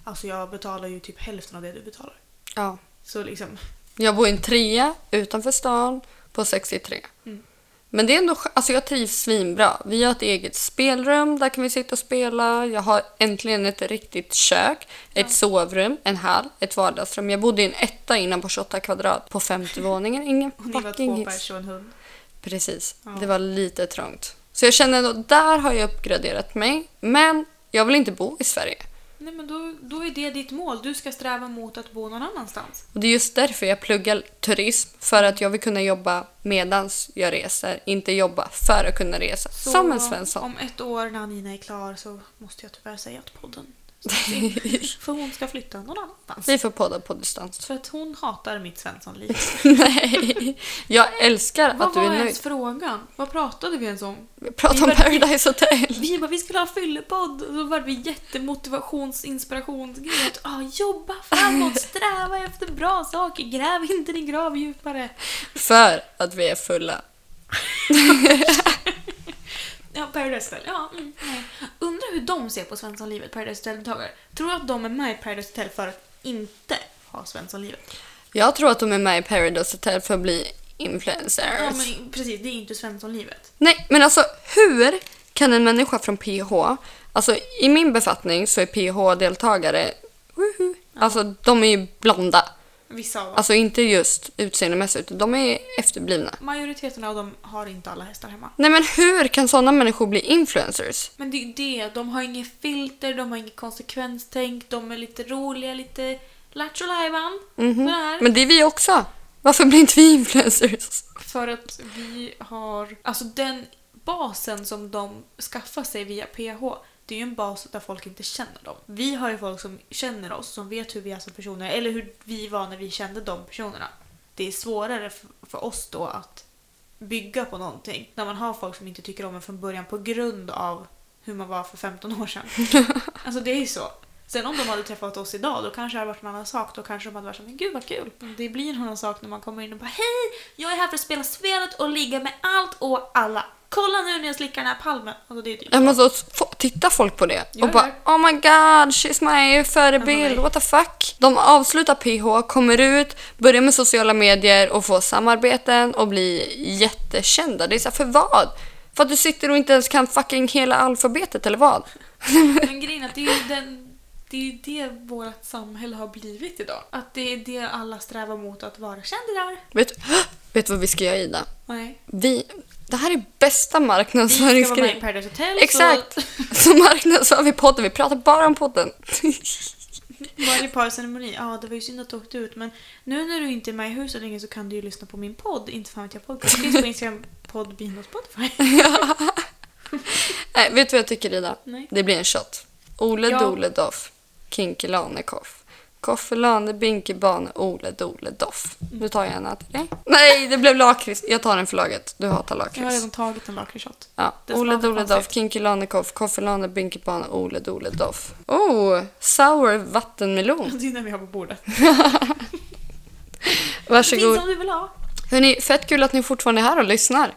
Alltså jag betalar ju typ hälften av det du betalar.
Ja.
Så liksom, [laughs]
Jag bor i en trea utanför stan på 63.
Mm.
Men det är ändå, skö- alltså jag trivs svinbra. Vi har ett eget spelrum, där kan vi sitta och spela. Jag har äntligen ett riktigt kök, ett sovrum, en hall, ett vardagsrum. Jag bodde i en etta innan på 28 kvadrat på femte våningen. Ingen
och ni var
fucking
två
hiss.
pers och en hund.
Precis. Det var lite trångt. Så jag känner att där har jag uppgraderat mig. Men jag vill inte bo i Sverige.
Nej men då, då är det ditt mål. Du ska sträva mot att bo någon annanstans.
Och det är just därför jag pluggar turism. För att jag vill kunna jobba medans jag reser. Inte jobba för att kunna resa.
Så
Som en Svensson.
Om ett år när Nina är klar så måste jag tyvärr säga att podden ställs in. För hon ska flytta någon
[laughs]
annanstans.
Vi får podda på distans. [laughs]
För att hon hatar mitt Svenssonliv.
Nej, jag älskar att
Vad
du
var
är
ens
nöjd.
frågan? Vad pratade vi ens om?
Vi pratar om
Vi var-
Paradise Hotel. [laughs]
Vi bara vi skulle ha fyllepodd och då var vi jättemotivations inspirationsgrejer. Att, ah, jobba framåt, sträva efter bra saker, gräv inte din grav djupare.
För att vi är fulla.
Ja, Paradise Hotel. Ja, mm, nej. Undrar hur de ser på Svenssonlivet, Paradise Hotel-deltagare. Tror du att de är med i Paradise Hotel för att inte ha Svenssonlivet?
Jag tror att de är med i Paradise Hotel för att bli influencers.
Ja, men precis. Det är inte Svenssonlivet.
Nej, men alltså hur kan en människa från PH, alltså i min befattning så är PH-deltagare, woohoo, alltså de är ju blonda.
Vissa av dem.
Alltså inte just utseendemässigt, de är efterblivna.
Majoriteten av dem har inte alla hästar hemma.
Nej men hur kan sådana människor bli influencers?
Men det är ju det, de har inget filter, de har inget konsekvenstänk, de är lite roliga, lite lattjo lajban. Sådär.
Mhm. Men det är vi också. Varför blir inte vi influencers?
För att vi har... Alltså den basen som de skaffar sig via PH, det är ju en bas där folk inte känner dem. Vi har ju folk som känner oss, som vet hur vi är som personer, eller hur vi var när vi kände de personerna. Det är svårare f- för oss då att bygga på någonting när man har folk som inte tycker om en från början på grund av hur man var för 15 [laughs] år sedan. Alltså det är ju så. Sen om de hade träffat oss idag då kanske det hade varit en annan sak. Då kanske de hade varit så här, men gud vad kul. Det blir en annan sak när man kommer in och bara hej, jag är här för att spela spelet och ligga med allt och alla. Kolla nu när jag slickar den här palmen. Alltså det är [laughs] typ
Ja, men så f- tittar folk på det
Ja,
och bara Oh my god, she's my
Ja,
förebild,
nej.
what the fuck? De avslutar PH, kommer ut, börjar med sociala medier och får samarbeten och blir jättekända. Det är så här, för vad? För att du sitter och inte ens kan fucking hela alfabetet eller vad?
Men grejen är att det är ju den, det, är ju det vårt samhälle har blivit idag. Att det är det alla strävar mot att vara kändisar.
Vet, vet du vad vi ska göra Ida?
Nej.
Vi, det här är bästa
Vi ska vara med i
marknadsföringsgrejen.
Paradise Hotel
Exakt! [laughs]
så
Så marknadsför vi podden, vi pratar bara om podden.
varje parceremoni. Ja, det var ju synd att du åkte ut men nu när du inte är med i huset längre så kan du ju lyssna på min podd. Inte fan vet jag podcast. Det finns på Instagram, Podbean och Spotify. [laughs]
Nej, vet du vad jag tycker Ida?
Nej.
Det blir en shot. Ole
Ja.
Dole Doff, Kinky Lane Koff. Koffelane Binke Bane Ole Dole Doff. Nu tar jag en här till dig. Nej, det blev lakrits. Jag tar den för laget. Du hatar
Jag har
lakrits.
redan tagit en lakritsshot.
Ja,
Det
Ole
smakar
Dole Doff,
konstigt.
Kinky Lane Koff, Koffelane Binke Bane Ole Dole Doff. Oh, sour vattenmelon.
Det är den vi har på bordet. Det
Varsågod.
finns om du vill ha.
Hörni, fett kul att ni fortfarande är här och lyssnar.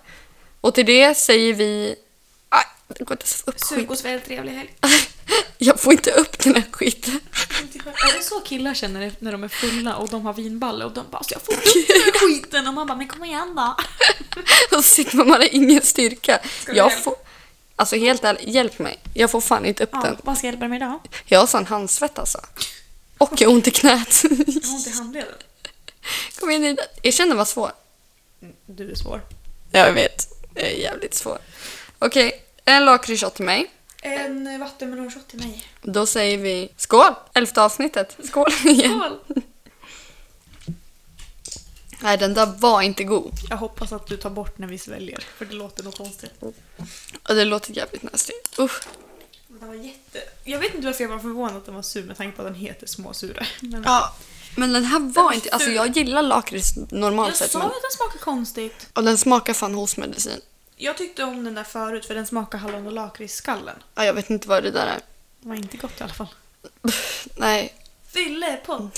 Och till det säger vi... Aj, det går inte att få upp skit.
[laughs] Sug och svälj, trevlig helg.
Jag får inte upp den här skiten.
Är det så killar känner det när de är fulla och de har vinballe och de bara så jag [laughs] får inte den här skiten och man bara men kom igen då.
Och så sitter man man har ingen styrka.
Ska du
Jag
hjälpa?
får... Alltså helt ärligt, hjälp mig. Jag får fan inte upp
Ja,
den.
vad ska jag hjälpa dig med idag?
Jag har sån handsvett alltså. Och jag har ont i knät.
Jag har ont i handleden.
Kom igen Ida. Jag känner vad svår.
Du är svår.
Jag vet. Jag är jävligt svår. Okej, en lakritsshot till mig.
En vattenmelonshot till mig.
Då säger vi skål! Elfte avsnittet. Skål [laughs] igen.
Skål!
Nej, den där var inte god.
Jag hoppas att du tar bort när vi sväljer för det låter nog konstigt.
Och det låter jävligt nasty. Usch.
Den var jätte... Jag vet inte varför jag var förvånad att den var sur med tanke på att den heter småsura. Men...
Ja. Men den här var
var
inte... Alltså
ful.
jag gillar lakrits normalt
Jag
sett.
sa ju
Men,
att den smakar konstigt.
och den smakar fan hostmedicin.
Jag tyckte om den där förut för den smakar hallon och lakritsskallen.
Ja, jag vet inte vad det där är.
Det var inte gott i alla fall.
Nej.
[laughs] Fyllepodd!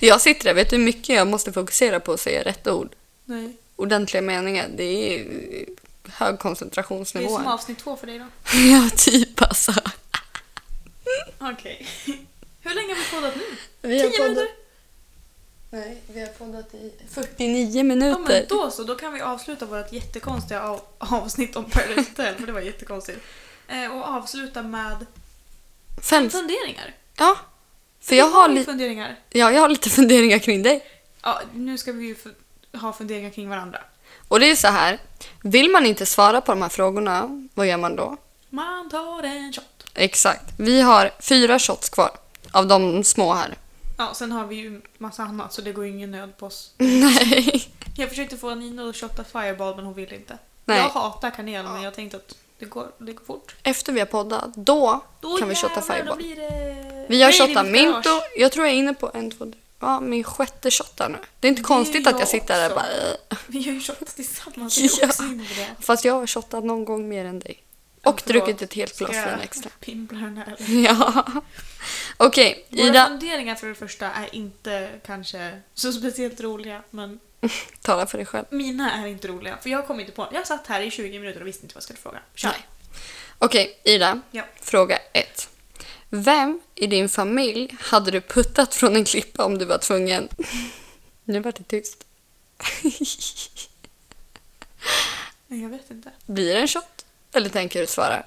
Jag sitter där. Vet du hur mycket jag måste fokusera på att säga rätt ord?
Nej.
Ordentliga meningar. Det är hög
Det är
koncentrationsnivå.
som avsnitt två för dig då.
[laughs] ja, typ alltså.
Okej. [laughs] Hur länge har vi poddat nu?
Vi
Tio minuter?
Nej, vi har poddat i 49
Ja
minuter.
men då så, då kan vi avsluta vårt jättekonstiga av- avsnitt om Paradise Hotel, för det var jättekonstigt. Eh, och avsluta med
Fem.
Alltså- funderingar.
Ja. För jag har,
lite
li-
funderingar.
ja, jag har lite [laughs] funderingar kring dig.
Ja, nu ska vi ju fu- ha funderingar kring varandra.
Och det är ju så här. Vill man inte svara på de här frågorna, vad gör man då?
Man tar en shot.
Exakt. Vi har fyra shots kvar av de små här. [laughs]
Ja, sen har vi ju massa annat så det går ju ingen nöd på oss.
Nej.
Jag försökte få Nino att shotta Fireball men hon ville inte.
Nej.
Jag hatar kanel men jag tänkte att det går, det går fort.
Efter vi har poddat, då,
Då
kan vi shotta
jävlar,
fireball.
då blir det...
Vi har
Nej, det
shottat
blir
mint
garage.
och jag tror jag är inne på en, två, tre. Ja, min sjätte shot där nu. Det är inte
Det är
konstigt att jag
jag
sitter där och
också.
bara... eh.
[laughs] Vi har ju shottat tillsammans.
[laughs]
Jag är också inne på det.
Fast jag har shottat någon gång mer än dig. Och
Förlåt.
druckit ett helt glas
Ska jag
vin extra. [laughs]
Pimpla den här.
Ja. Okej,
Våra
Ida.
funderingar för det första är inte kanske så speciellt roliga men
Tala för dig själv.
mina är inte roliga för jag kom inte på Jag satt här i 20 minuter och visste inte vad jag skulle fråga. Kör!
Nej. Okej, Ida.
Ja.
Fråga 1. Vem i din familj hade du puttat från en klippa om du var tvungen? [laughs] Nu vart det tyst.
Nej, jag vet inte.
Blir det en shot? Eller tänker du svara?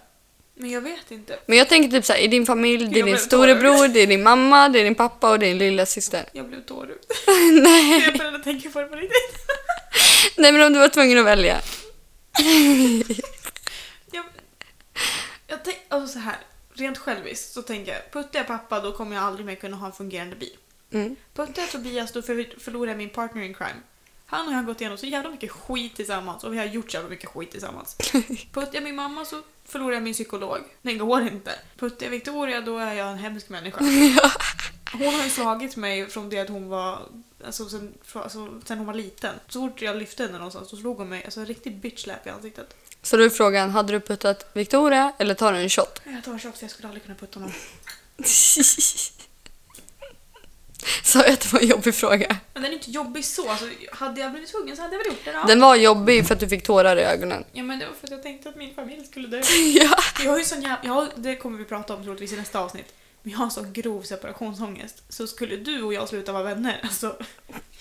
Men jag vet inte.
Men jag tänker typ så här, i din familj, det är
Jag
din
blev
storebror,
tårögd.
det är din mamma, det är din pappa och det är din lilla syster.
Jag blev tårögd.
[laughs] Nej.
Jag började tänka på det på riktigt.
Nej, men om du var tvungen att välja.
Jag, jag tänk, alltså så här, rent själviskt så tänker jag, puttar jag pappa då kommer jag aldrig mer kunna ha en fungerande bil.
Mm.
Puttar jag Tobias då för- förlorar jag min partner in crime. Han och jag har gått igenom så jävla mycket skit tillsammans och vi har gjort så jävla mycket skit [laughs] tillsammans. Puttar jag min mamma så förlorar jag min psykolog. Det går inte. Puttar jag Victoria då är jag en hemsk människa. Hon har ju slagit mig från det att hon var, alltså sen, fra- alltså, sen hon var liten. Så fort jag lyfte henne någonstans så slog hon mig, alltså en riktig bitch-slap i ansiktet.
Så då är frågan, hade du puttat Victoria eller tar du en shot? [laughs]
Jag tar shots, jag skulle aldrig kunna putta någon.
Sa jag att det var en jobbig fråga?
Men den är inte jobbig så. Alltså, hade jag blivit tvungen så hade jag väl gjort det då.
Den var jobbig för att du fick tårar i ögonen.
Ja men det var för att jag tänkte att min familj skulle dö.
Ja.
Jag har ju sån jävla, jag har, det kommer vi prata om troligtvis i nästa avsnitt. Men jag har sån grov separationsångest. Så skulle du och jag sluta vara vänner, alltså.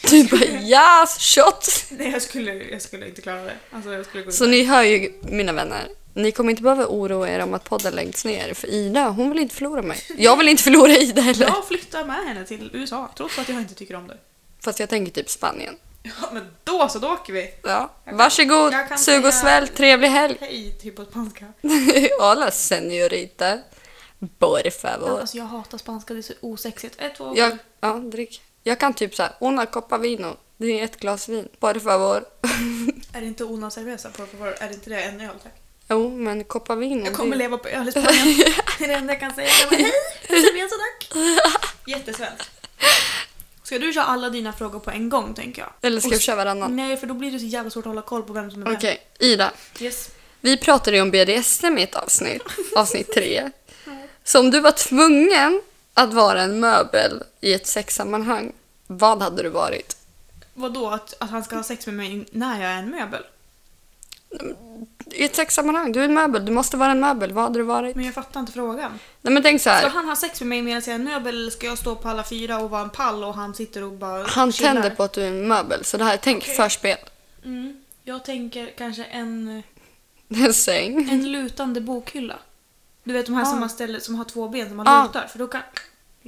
[laughs]
Du bara yes, shot!
Nej jag skulle, jag skulle inte klara det. Alltså jag skulle gå
Så ni hör ju mina vänner. Ni kommer inte behöva oroa er om att podden läggs ner för Ida hon vill inte förlora mig. Jag vill inte förlora Ida heller.
Jag flyttar med henne till USA trots att jag inte tycker om det. [laughs]
Fast jag tänker typ Spanien.
Ja men då så, då åker vi!
Ja. Varsågod,
jag kan
sug och
säga-
svälj, trevlig helg! [laughs]
Hej, typ på spanska.
Hola senorita. Por favor.
Alltså jag hatar spanska, det är så osexigt. Ett, två,
Jag, ja, drick. Jag kan typ såhär, una copa vino. Det är ett glas vin. Por favor. [laughs]
Är det inte Una Cerveza? Por favor, är det inte det? En öl tack.
Jo, men copa vino.
Jag kommer
Mm, det-
leva
[laughs]
på öl i Spanien. Det är det enda jag kan säga. Jag bara, hej, Cerveza tack.
[laughs]
Jättesvenskt. Ska du köra alla dina frågor på en gång tänker jag?
Eller ska vi köra varannan?
Nej, för då blir det så jävla svårt att hålla koll på vem som är vem.
Okej, Ida.
Yes.
Vi pratade ju om BDSM i ett avsnitt, avsnitt
[laughs]
tre. Så om du var tvungen att vara en möbel i ett sexsammanhang, vad hade du varit?
Vadå att, att han ska ha sex med mig när jag är en möbel?
I ett sexsammanhang, du är en möbel, du måste vara en möbel. Vad hade du varit?
Men jag fattar inte frågan.
Nej men tänk så
Ska
här.
han ha sex med mig medan jag är en möbel eller ska jag stå på alla fyra och vara en pall och han sitter och bara
Han
chillar?
tänder på att du är en möbel. Så det här, tänk förspel. [laughs]
Mm. Jag tänker kanske
Mm.
en,
En säng.
en lutande bokhylla. Du vet de här
Ah.
som, man ställer, som har två ben som man
Ah.
lutar för då kan...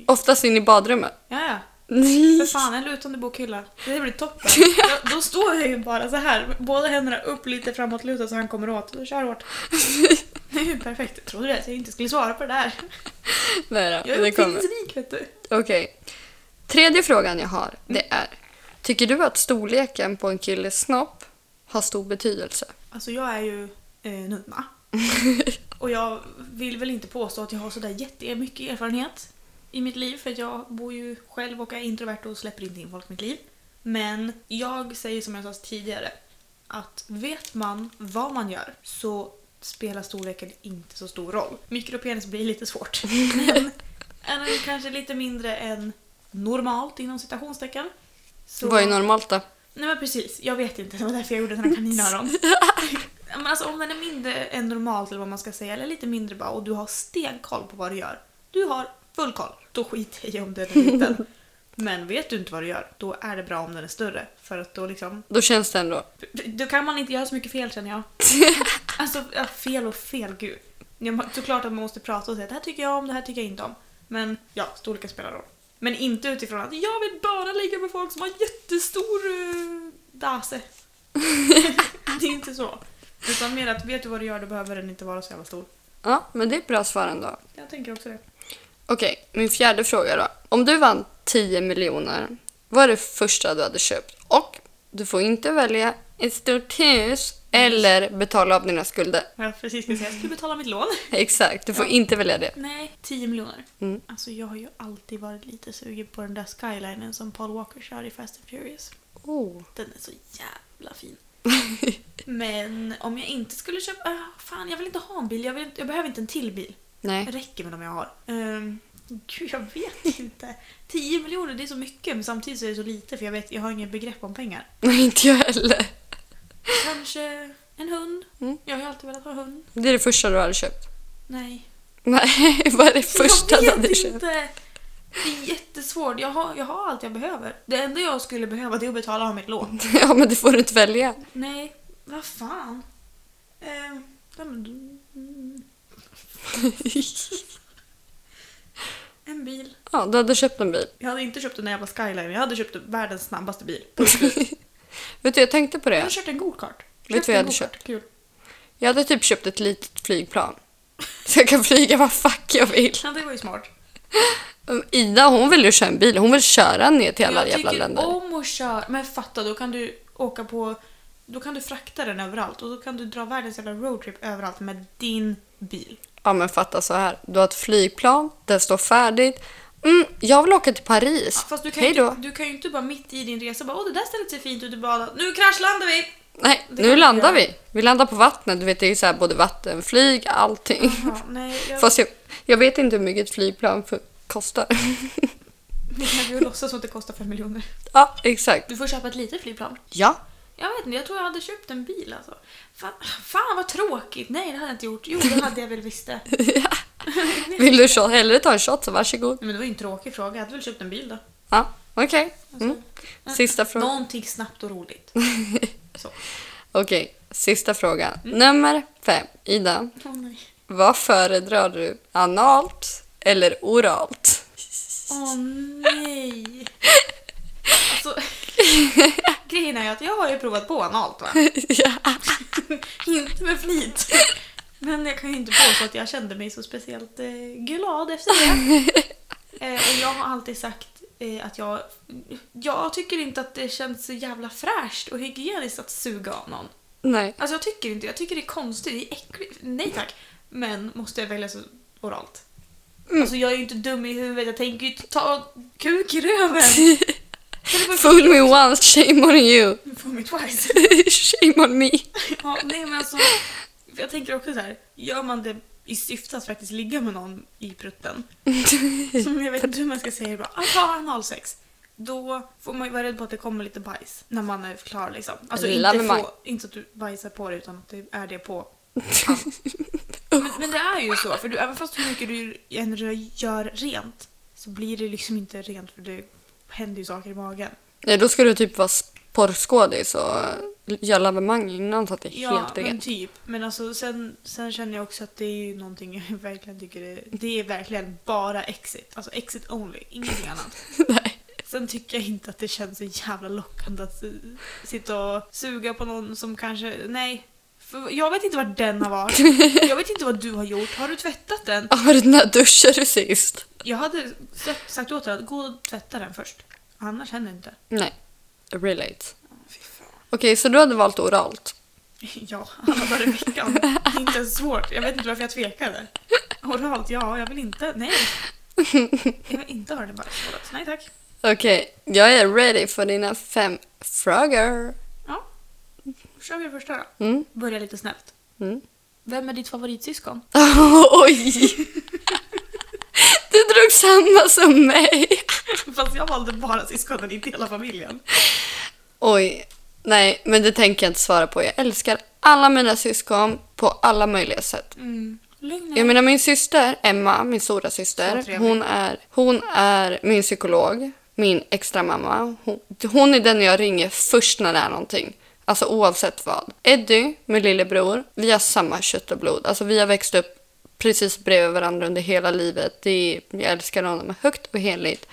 Oftast in i badrummet.
Ja, ja. För fan, en lutande bokhylla. Det blir toppen. Jag, då står jag ju bara så här, med båda händerna upp lite framåtlutade så han kommer åt. Då kör
[laughs]
hårt. Det är ju perfekt. Jag trodde att jag inte skulle svara på det där.
[laughs] Nej då,
Jag är
det kommer.
uppfinningsrik vet du.
Okej. Tredje frågan jag har, det är. Tycker du att storleken på en killes snopp har stor betydelse?
Alltså jag är ju eh,
[laughs]
nunna. Och jag vill väl inte påstå att jag har sådär jättemycket erfarenhet i mitt liv för att jag bor ju själv och är introvert och släpper inte in folk i mitt liv. Men jag säger som jag sa tidigare att vet man vad man gör så spelar storleken inte så stor roll. Mikropenis blir
[laughs]
lite svårt. Men är den kanske lite mindre än normalt inom citationstecken. så-
Vad är normalt
[laughs]
då?
Nej men precis, jag vet inte. Det var därför jag gjorde den här kaninöron. Ja, men alltså om den är mindre än normalt eller vad man ska säga, eller lite mindre bara och du har stenkoll på vad du gör. Du har full koll. Då skiter jag i om den är liten. Men vet du inte vad du gör, då är det bra om den är större. För att då liksom...
Då känns det ändå. [laughs]
Då kan man inte göra så mycket fel känner jag. Alltså ja, fel och fel, gud. Ja, man- Såklart att man måste prata och säga det här tycker jag om, det här tycker jag inte om. Men ja, storleken spelar roll. Men inte utifrån att jag vill bara ligga med folk som har jättestor uh, dase. [laughs] det är inte så. Utan mer att vet du vad du gör då behöver den inte vara så jävla stor.
Ja, men det är ett bra svar ändå.
Jag tänker också det.
Okej, min fjärde fråga då. Om du vann 10 miljoner, vad är det första du hade köpt? Och du får inte välja ett stort hus eller betala av dina skulder. [laughs]
Jag precis ska säga ska du betala mitt lån? [laughs]
Exakt, du får inte välja det.
Nej, 10 miljoner.
Mm.
Alltså jag har ju alltid varit lite sugen på den där skylinen som Paul Walker kör i Fast and Furious.
Oh.
Den är så
[laughs]
jävla fin. Men om jag inte skulle köpa... ah, fan, jag vill inte ha en bil. Jag, vill inte, jag behöver inte en till bil.
Nej. [laughs]
Det räcker med de jag har. Ehm, gud, jag vet [laughs] inte. 10 miljoner, det är så mycket men samtidigt så är det så lite för jag, vet, jag har inget begrepp om pengar.
Nej, inte jag heller.
Kanske en hund.
Mm.
Jag har ju alltid velat ha hund.
Det är det första du hade köpt. [laughs]
Nej.
Nej, vad är det första du
jag
hade
vet
köpt? [laughs]
inte. Det är jättesvårt. Jag har, jag har allt jag behöver. Det enda jag skulle behöva det är att betala av mitt lån.
Ja, men det får du inte välja. [laughs]
Nej, vad fan. Eh, ja, men, du- mm. en bil.
Ja, du hade köpt en bil.
Jag hade inte köpt den där jävla skyline. Jag hade köpt världens
[laughs]
snabbaste bil.
Vet du, jag tänkte på
Jag hade
det.
köpt en go-kart. Köpt
vad jag
en
hade
go-kart. Kul.
Jag hade typ köpt ett litet flygplan. [laughs] Så jag kan flyga vad fuck jag vill.
Ja, det var ju smart.
Um, Ida, hon vill ju köra en bil. Hon vill köra ner till alla
jag
jävla
tycker oh.
länder.
om att köra. Men fatta, då kan du åka på... Då kan du frakta den överallt och då kan du dra världens jävla roadtrip överallt med din bil.
Ja, men fatta så här. Du har ett flygplan, det står färdigt. Mm, jag vill åka till Paris.
Fast du kan, ju
Hej då.
inte, du kan ju inte bara mitt i din resa bara åh det där stället ser fint ut du bara nu kraschlandar vi!
[laughs] Nej,
det
nu
kan
landar
jag.
vi. Vi landar på vattnet. Du vet, det är ju så här både vattenflyg,
[laughs]
allting.
Ja, nej, jag... [laughs]
Fast jag, jag vet inte hur mycket ett flygplan för, kostar. [laughs]
Vi kan ju låtsas som att det kostar fem miljoner.
ja, exakt.
Du får köpa ett litet flygplan.
Ja.
Jag vet inte, jag tror jag hade köpt en bil alltså. Fan, fan vad tråkigt! Nej, det hade jag inte gjort. Jo, det hade jag väl
[laughs]
visst det. Nej,
Vill du shot? hellre ta en shot så varsågod.
Men det var ju en tråkig fråga. Jag hade väl köpt en bil då.
Ja, okej.
Alltså,
Mm. Sista frågan.
Någonting snabbt
[laughs]
och roligt. Så.
Okej, sista frågan.
Mm.
Nummer fem. Ida,
Åh nej.
vad föredrar du? Analt eller oralt? [laughs]
Åh nej! Alltså, grejen är ju att jag har ju provat på analt va?
ja.
[laughs] Inte med flit. Men jag kan ju inte påstå att jag kände mig så speciellt eh, glad efter det. Eh, och jag har alltid sagt eh, att jag... Jag tycker inte att det känns så jävla fräscht och hygieniskt att suga av någon.
Nej.
Alltså jag tycker inte Jag tycker det är konstigt, det är äckligt. Nej tack. Men måste jag välja så oralt? Alltså jag är ju inte dum i huvudet, jag tänker ju inte ta kuk i röven. Kan du bara
Fool me once, shame on you. [laughs]
få mig twice?
shame on me.
Ja, nej men alltså. Jag tänker också så här. Gör man det i syfte att faktiskt ligga med någon i prutten. Som jag vet inte hur man ska säga det bara. Ah, ta analsex. Då får man ju vara rädd på att det kommer lite bajs när man är klar liksom. Alltså
Lilla
inte,
med
få,
maj.
inte att du bajsar på dig utan att det är det på. Ja. men, men det är ju så, för du, även fast hur mycket du än rö- gör rent så blir det liksom inte rent för det händer ju saker i magen.
Nej, då ska du typ vara s- porrskådis och eh, göra lavemang innan så att det är
Ja,
helt
men
rent.
typ. Men alltså sen, sen känner jag också att det är ju någonting jag [laughs] verkligen tycker är, det är verkligen bara exit. Alltså exit only, ingenting annat.
[laughs] Nej.
Sen tycker jag inte att det känns så jävla lockande att eh, sitta och suga på någon som kanske, nej. För jag vet inte var den har varit. Jag vet inte vad du har gjort. Har du tvättat den?
Ja, men när duschade du sist?
Jag hade sagt- sagt åt dig att gå och tvätta den först. Annars händer det inte.
Nej. Relate.
Fy fan.
Okej, så du hade valt oralt.
[laughs] Ja, alla dagar i veckan. Det är inte ens svårt. Jag vet inte varför jag tvekade. Oralt, ja, jag vill inte. Nej. Jag vill inte ha det bara oralt. Nej tack.
Okej, jag är ready för dina fem frågor.
Ja. Då kör vi första då.
Mm.
Börja lite snällt.
Mm.
Vem är ditt favoritsyskon?
[laughs] Oj! Du drog samma som mig.
[laughs] Fast jag valde bara syskonen, inte hela familjen.
Oj. Nej, men det tänker jag inte svara på. Jag älskar alla mina syskon på alla möjliga sätt.
Mm. Lugn
Jag
ner.
menar min syster, Emma, min stora
Så
syster,
trevlig.
hon är, hon är min psykolog, min extra mamma. Hon, hon är den jag ringer först när det är någonting. Alltså oavsett vad. Eddie, min lillebror, vi har samma kött och blod. Alltså vi har växt upp precis bredvid varandra under hela livet. Det är, jag älskar honom högt och heligt.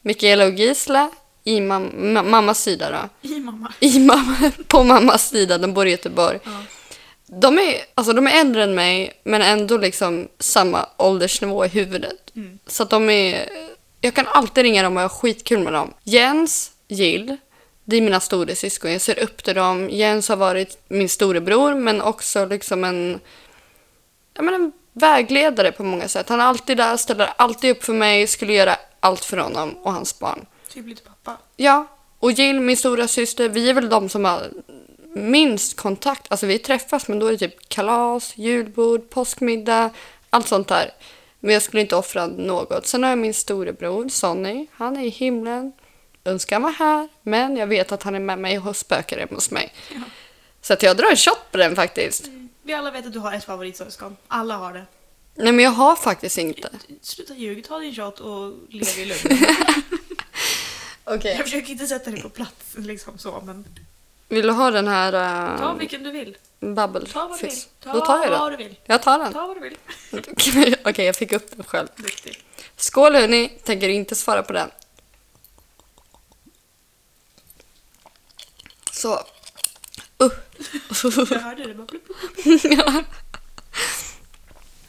Mikaela och Gisla, i mam, ma, mammas sida då.
I mamma.
I mamma, på mammas sida, de bor i Göteborg.
Ja.
De är, alltså de är äldre än mig, men ändå liksom samma åldersnivå i huvudet.
Mm.
Så att de är... Jag kan alltid ringa dem och ha skitkul med dem. Jens, Jill, det är mina storasyskon. Jag ser upp till dem. Jens har varit min storebror, men också liksom en... Ja, men en vägledare på många sätt. Han är alltid där, ställer alltid upp för mig, skulle göra allt för honom och hans barn.
Typ lite pappa.
Ja, och Jill, min stora syster, vi är väl de som har minst kontakt. Alltså vi träffas, men då är det typ kalas, julbord, påskmiddag, allt sånt där. Men jag skulle inte offra något. Sen har jag min storebror Sonny. Han är i himlen. Önskar han var här, men jag vet att han är med mig och spökar hemma hos mig.
Ja.
Så att jag drar en shot på den faktiskt.
Mm. Vi alla vet att du har ett favoritsyskon. Alla har det.
Nej, men jag har faktiskt inte.
Sluta ljuga, ta din shot och lev i lugn.
Okej.
Jag försöker inte sätta dig på plats liksom så, men
Vill du ha den här
ta
uh,
vilken du vill.
bubble
Ta vad du vill.
fizz?
Ta
Då tar jag
vad
den.
du vill.
Jag tar den. [laughs]
Ta vad du vill.
Okej, jag fick upp den själv.
Duktig.
Skål hörni, tänker inte svara på den. Så. [laughs] Uh.
Jag hörde det. Bara plupp, plupp, plupp.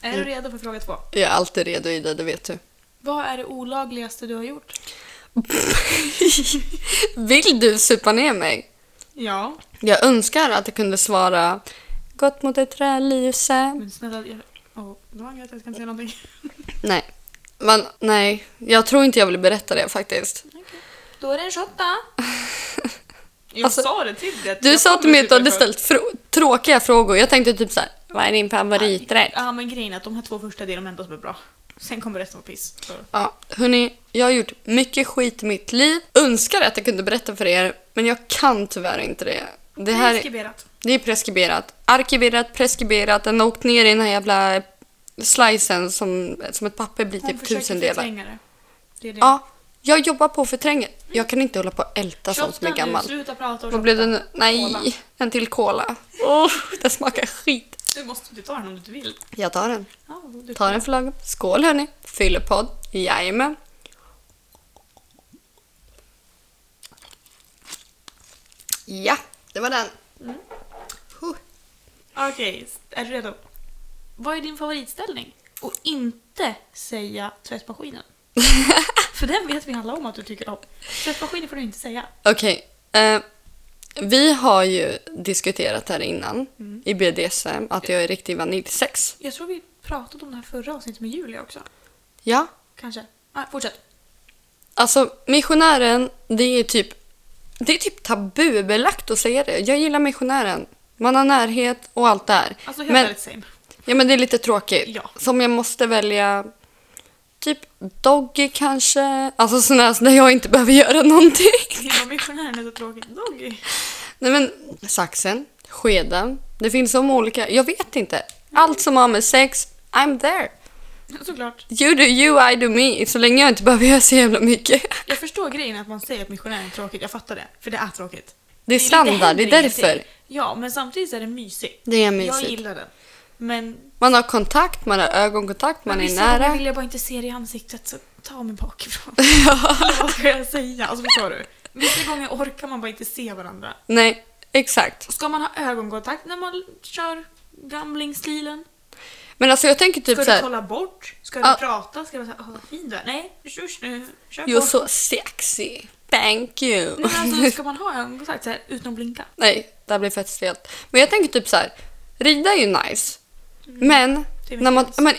Är du redo för fråga två?
Jag är alltid redo i det, det vet
[laughs]
du.
Vad är det olagligaste du har gjort?
Vill du supa ner mig?
Ja.
Jag önskar att jag kunde svara Gått mot ett trälyse.
Men snälla, jag... Åh, det var inget jag kan säga någonting.
Nej. Men nej, jag tror inte jag vill berätta det faktiskt.
Då är det en shot då. Jag
Alltså,
sa det till dig. att
Du
jag
sa
kommer
till mig att du
sluta
hade
själv.
ställt frå- tråkiga frågor. Jag tänkte typ så här, vad är din favoriträtt?
Ja, men grejen är att de här två första det är de enda som är bra. Sen kommer resten vara piss. Så.
Ja, hörni, jag har gjort mycket skit i mitt liv. Önskar att jag kunde berätta för er, men jag kan tyvärr inte det. Det här är, typ
Preskriberat.
det är preskriberat. Arkiverat, preskriberat. Den har åkt ner i den här jävla slicen som, som ett papper blir
Hon
typ
försöker
tusendelar.
förtränga det. Det är det.
Ja, jag jobbar på förtränget. Jag kan inte hålla på och älta sånt som är
Shotta nu,
gammalt.
sluta prata och
Vad blev det
shotta.
nu? Nej,
Cola.
en till cola. Åh, den smakar skit.
Du måste, du tar den om du inte vill.
Jag tar den.
Ja, du
Ta den för lagom. Skål hörni. Fyllepodd. Jajamän. Ja, det var den. Huh.
Okej, är du redo? Vad är din favoritställning? Och inte säga
[laughs]
tvättmaskinen. För den vet vi alla om att du tycker om. Tvättmaskinen får du inte säga.
Okej. eh, vi har ju diskuterat här innan i BDSM att jag är riktig vaniljsex.
Jag tror vi pratade om det här förra avsnittet med Julia också.
Ja.
Kanske. Ah, fortsätt.
Alltså missionären, det är typ det är typ tabubelagt att säga det. Jag gillar missionären. Man har närhet och allt det här.
Alltså helt
Men-
ärligt same.
Ja, men det är lite tråkigt.
Ja.
Som jag måste välja... Typ Doggy kanske. Alltså sådana här där jag inte behöver göra någonting. [laughs]
Hela missionären är så tråkig. Doggy.
Nej men saxen, skeden. Det finns så många olika. Jag vet inte. Allt som har med sex, I'm there.
Såklart.
You do you, I do me. Så länge jag inte behöver göra så jävla mycket. [laughs]
Jag förstår grejen att man säger att missionären är tråkigt. Jag fattar det. För det är tråkigt.
Det är standard, det är
händer ingenting.
därför.
Ja, men samtidigt är det mysigt.
Det är
Jag
mysigt.
gillar den. Men,
Man har kontakt, man har ögonkontakt, man
men
är
vissa
nära.
gånger vill jag bara inte se det i ansiktet så ta
[laughs]
mig bakifrån. Eller Vad ska jag säga? Alltså förstår du? Vissa gånger orkar man bara inte se varandra.
Nej, exakt.
Ska man ha ögonkontakt när man kör gamblingsstilen?
Men alltså jag tänker typ
Ska du
såhär,
kolla bort? Ska du
Ja.
prata? Ska du säga åh vad fin du är? Nej, usch nu, kör
you're
på.
so sexy. Thank you.
Nej, men alltså, ska man ha ögonkontakt så här, utan att blinka?
Nej, det här blir fett stelt. Men jag tänker typ så här. Rida är ju nice. Men,
Mm. Det är
när man,
mycket
men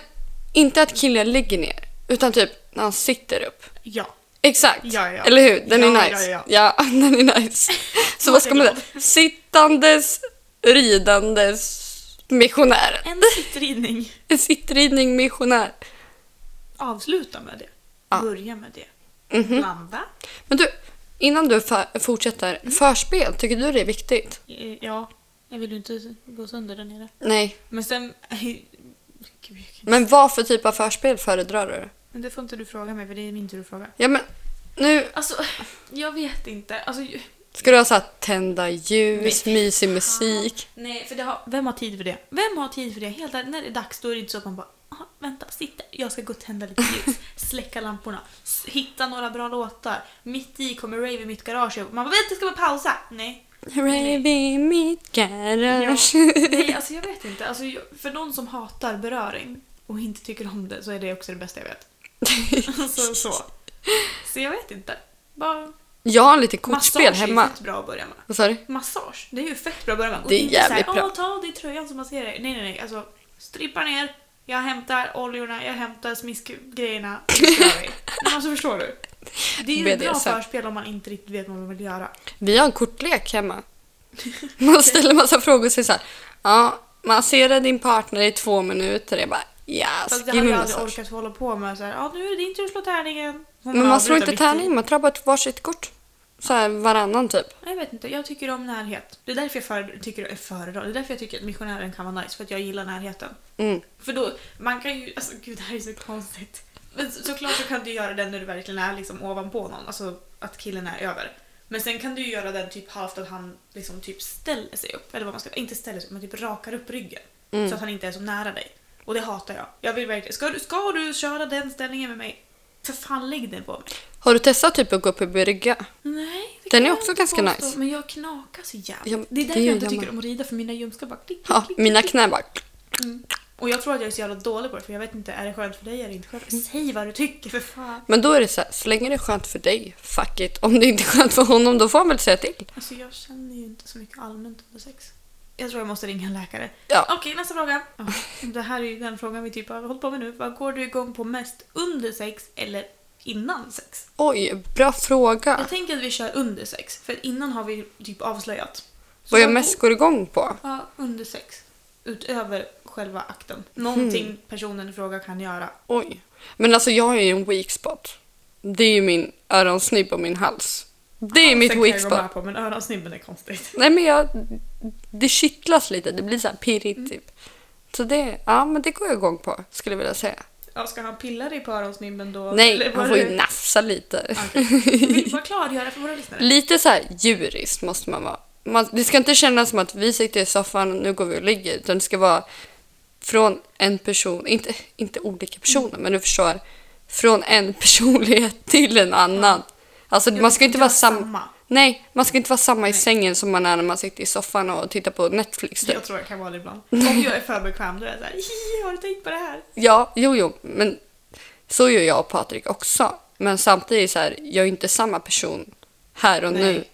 inte att killen ligger ner. Utan typ när han sitter upp.
Ja.
Exakt.
Ja, ja.
Eller hur? Den
Ja,
är nice.
ja,
[laughs] den är nice.
[laughs]
Så vad ska man säga? Sittandes, ridandes, missionär. [laughs]
En sittridning.
En sittridning missionär.
Avsluta med det.
Ja. Mm.
Börja med det. Blanda.
Mhm. Men du, innan du fa- fortsätter.
Mm.
Förspel, tycker du det är viktigt?
Eh, Ja, jag vill ju inte gå sönder där nere.
Nej.
Men sen... [laughs] Gud, jag kan-
Men vad för typ av förspel föredrar du?
Men det får inte du fråga mig för det är min tur att fråga.
Ja men, nu
Alltså, jag vet inte. Alltså, ju-
Ska du ha så här, tända ljus, mysig musik?
nej, för det har, vem har tid för det? Vem har tid för det? Helt ärligt, när det är dags då är det inte så att man bara "Aha, vänta, sitta, jag ska gå och tända lite ljus, släcka lamporna, s- hitta några bra låtar. Mitt i kommer rave i mitt garage och man bara vänta, ska man pausa? Nej.
Rave i mitt garage.
nej, alltså jag vet inte. Alltså, jag- för någon som hatar beröring och inte tycker om det så är det också det bästa jag vet. [laughs] Alltså så. Så jag vet inte. Bara
[laughs] Jag har lite kortspel
massage är
hemma.
ju fett bra att börja med.
Vad sa du?
Massage, det är ju fett bra att börja med. Och
Det är
inte så här,
jävligt bra.
"Åh, Ta av dig tröjan så masserar jag. Nej, nej, nej. Alltså, strippa ner, jag hämtar oljorna, jag
[laughs]
hämtar smiskgrejerna. det kör vi. Men alltså förstår du? Det är ju ett bra
BDSM.
förspel om man inte riktigt vet vad man vill göra.
Vi har en kortlek
[laughs]
hemma. Man ställer massa frågor och säger så här. Ja, masserar din partner i två minuter. Jag bara yes,
Fast det
give
hade
me
jag aldrig
massage.
orkat hålla på med såhär, ja nu är det din tur att slå tärningen. Hon
Men man slår
avbryter
inte
mitt i.
tärning, man tar bara ett varsitt kort. Så här varannan typ.
Jag vet inte, jag tycker om närhet. Det är därför jag för, tycker, eh, föredrar, det är därför jag tycker att missionären kan vara nice, för att jag gillar närheten.
Mm.
För då, man kan ju, alltså gud det här är så konstigt. Men så- såklart så kan du göra den när du verkligen är liksom ovanpå någon, alltså att killen är över. Men sen kan du ju göra den typ halvt att han liksom typ ställer sig upp, eller vad man ska, inte ställer sig upp, men typ rakar upp ryggen. Så att han inte är så nära dig. Och det hatar jag. Jag vill verkligen, ska du, ska du köra den ställningen med mig? För fan lägg den på mig.
Har du testat typ att gå upp i brygga?
Nej.
Den
det kan
är
jag
också
inte
ganska
påstå,
nice.
Men jag knakar så jävligt.
Ja, men
det är
det
därför
gör
jag inte
jag
tycker
med.
om att rida för mina ljumskar bara klick, klick,
Ja,
klick,
mina
klick.
knän bara...
Och jag tror att jag är så jävla dålig på det för jag vet inte, är det skönt för dig eller inte skönt?
Mm.
Säg vad du tycker för fan.
Men då är det så här, så länge det är skönt för dig, fuck it. Om det inte är skönt för honom, då får han väl säga till.
Alltså jag känner ju inte så mycket allmänt under sex. Jag tror jag måste ringa en läkare.
Ja.
Okej, nästa fråga. Ja, det här är ju den frågan vi typ har hållit på med nu. Vad går du igång på mest? Under sex eller innan sex?
Oj, bra fråga.
Jag tänker att vi kör under sex, för innan har vi typ avslöjat. Så
Vad jag mest går igång på?
Ja, under sex. Utöver själva akten. Någonting
Hmm.
personen i fråga kan göra.
Oj. Men alltså jag har ju en weak spot. Det är ju min öronsnibb och min hals. Det är mitt
Sen
weak
kan jag gå
spot.
med på, men öronsnibben är konstigt.
Nej men jag... Det kittlas lite, det blir så här
Mm.
pirrigt typ. Så det, ja men det går jag igång på skulle jag vilja säga.
Ja, ska han pilla dig på öronsnibben då?
Nej,
Eller var
han får
det-
ju nafsa lite.
Okej.
[laughs]
Vill bara klargöra för våra lyssnare.
Lite så här djuriskt måste man vara. Man, det ska inte kännas som att vi sitter i soffan och nu går vi och ligger. Utan det ska vara från en person, inte, inte olika personer, men du förstår. Från en personlighet till en annan. Alltså
Ja,
man ska
det
inte
ska
vara
vara samma.
samma. Nej, man ska inte vara samma i
Nej.
sängen som man är när man sitter i soffan och tittar på Netflix. Typ.
Jag tror jag kan vara det ibland. Om jag är för bekväm då är jag såhär "Hihi, har du tänkt på
[laughs]
det här?
Ja, jo, jo, men så gör jag och Patrik också. Men samtidigt så här, jag är inte samma person här och
Nej.
nu.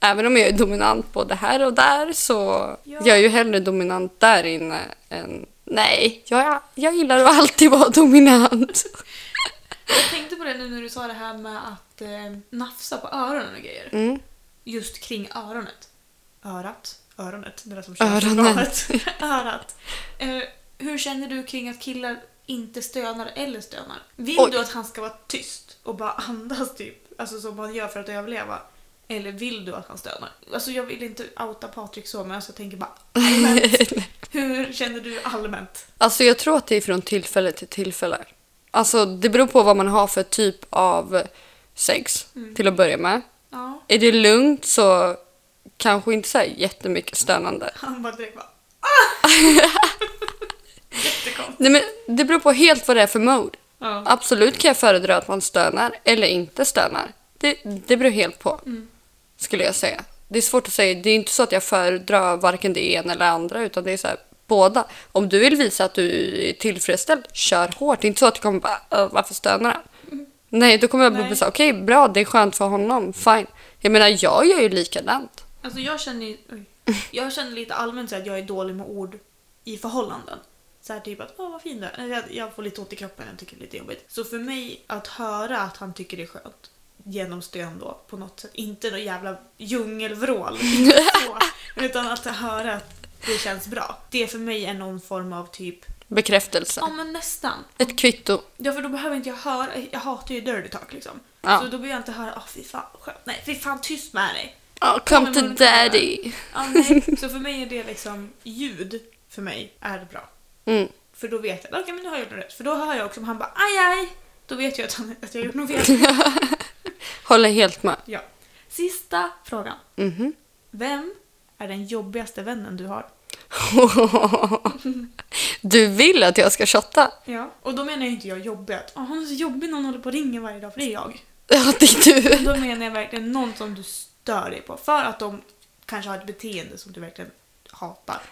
Även om jag är dominant både här och där så
Ja.
jag är ju hellre dominant där inne än... Nej, jag, jag gillar att alltid vara dominant.
Jag tänkte på det nu när du sa det här med att eh, nafsa på öronen och grejer.
Mm.
Just kring öronet. Örat? Öronet? Det där som
Öronen. [laughs]
[laughs] känns i örat. örat. Eh, hur känner du kring att killar inte stönar eller stönar. Vill
Oj.
du att han ska vara tyst och bara andas typ, alltså som man gör för att överleva? Eller vill du att han stönar? Alltså jag vill inte outa Patrik så men alltså, jag tänker bara
[laughs]
allmänt. Hur känner du allmänt?
Alltså jag tror att det är från tillfälle till tillfälle. Alltså det beror på vad man har för typ av sex
Mm.
till att börja med.
Ja.
Är det lugnt så kanske inte så här jättemycket stönande.
Han bara direkt bara
[laughs]
ah! Jättekonstigt.
Nej men det beror på helt vad det är för mode.
Ja.
Absolut kan jag föredra att man stönar eller inte stönar. Det, det beror helt på.
Mm.
Skulle jag säga. Det är svårt att säga. Det är inte så att jag föredrar varken det ena eller andra utan det är så här båda. Om du vill visa att du är tillfredsställd, kör hårt. Det är inte så att du kommer bara "Äh, varför stönar han? Nej, då kommer jag bara
Mm. Nej.
säga okej, bra, det är skönt för honom, fine. Jag menar, jag gör ju likadant.
Alltså jag känner ju- oj. Jag känner lite allmänt så att jag är dålig med ord i förhållanden. Så här typ att åh vad fin du är. Eller Jag, jag får lite ont i kroppen, jag tycker det är lite jobbigt. Så för mig att höra att han tycker det är skönt genom stön då på något sätt. Inte någon jävla djungelvrål. inte så, utan att höra att det känns bra. Det för mig är någon form av typ,
Bekräftelse.
ja men nästan.
Ett kvitto.
Ja för då behöver inte jag höra, jag hatar ju dirty talk liksom.
Ja.
Så då behöver jag inte höra, åh fy fan skönt, nej fy fan tyst med dig.
Oh,
Ja,
come
men
to
man kan göra.
daddy.
Ja, nej. Så för mig är det liksom, ljud för mig är bra.
Mm.
För då vet jag, okej men nu har jag gjort något rätt. För då hör jag också om han bara aj aj. Då vet jag att, han, att jag har gjort något fel.
[laughs] Håller helt med.
Ja. Sista frågan.
Mhm. [laughs]
Vem är den jobbigaste vännen du har?
Du vill att jag ska shotta?
Ja. Och då menar jag inte jag jobbig att "Åh, hon är så jobbig när hon håller på och ringer varje dag för det är jag.
Ja, det är du.
Då menar jag verkligen någon som du stör dig på för att de kanske har ett beteende som du verkligen hatar.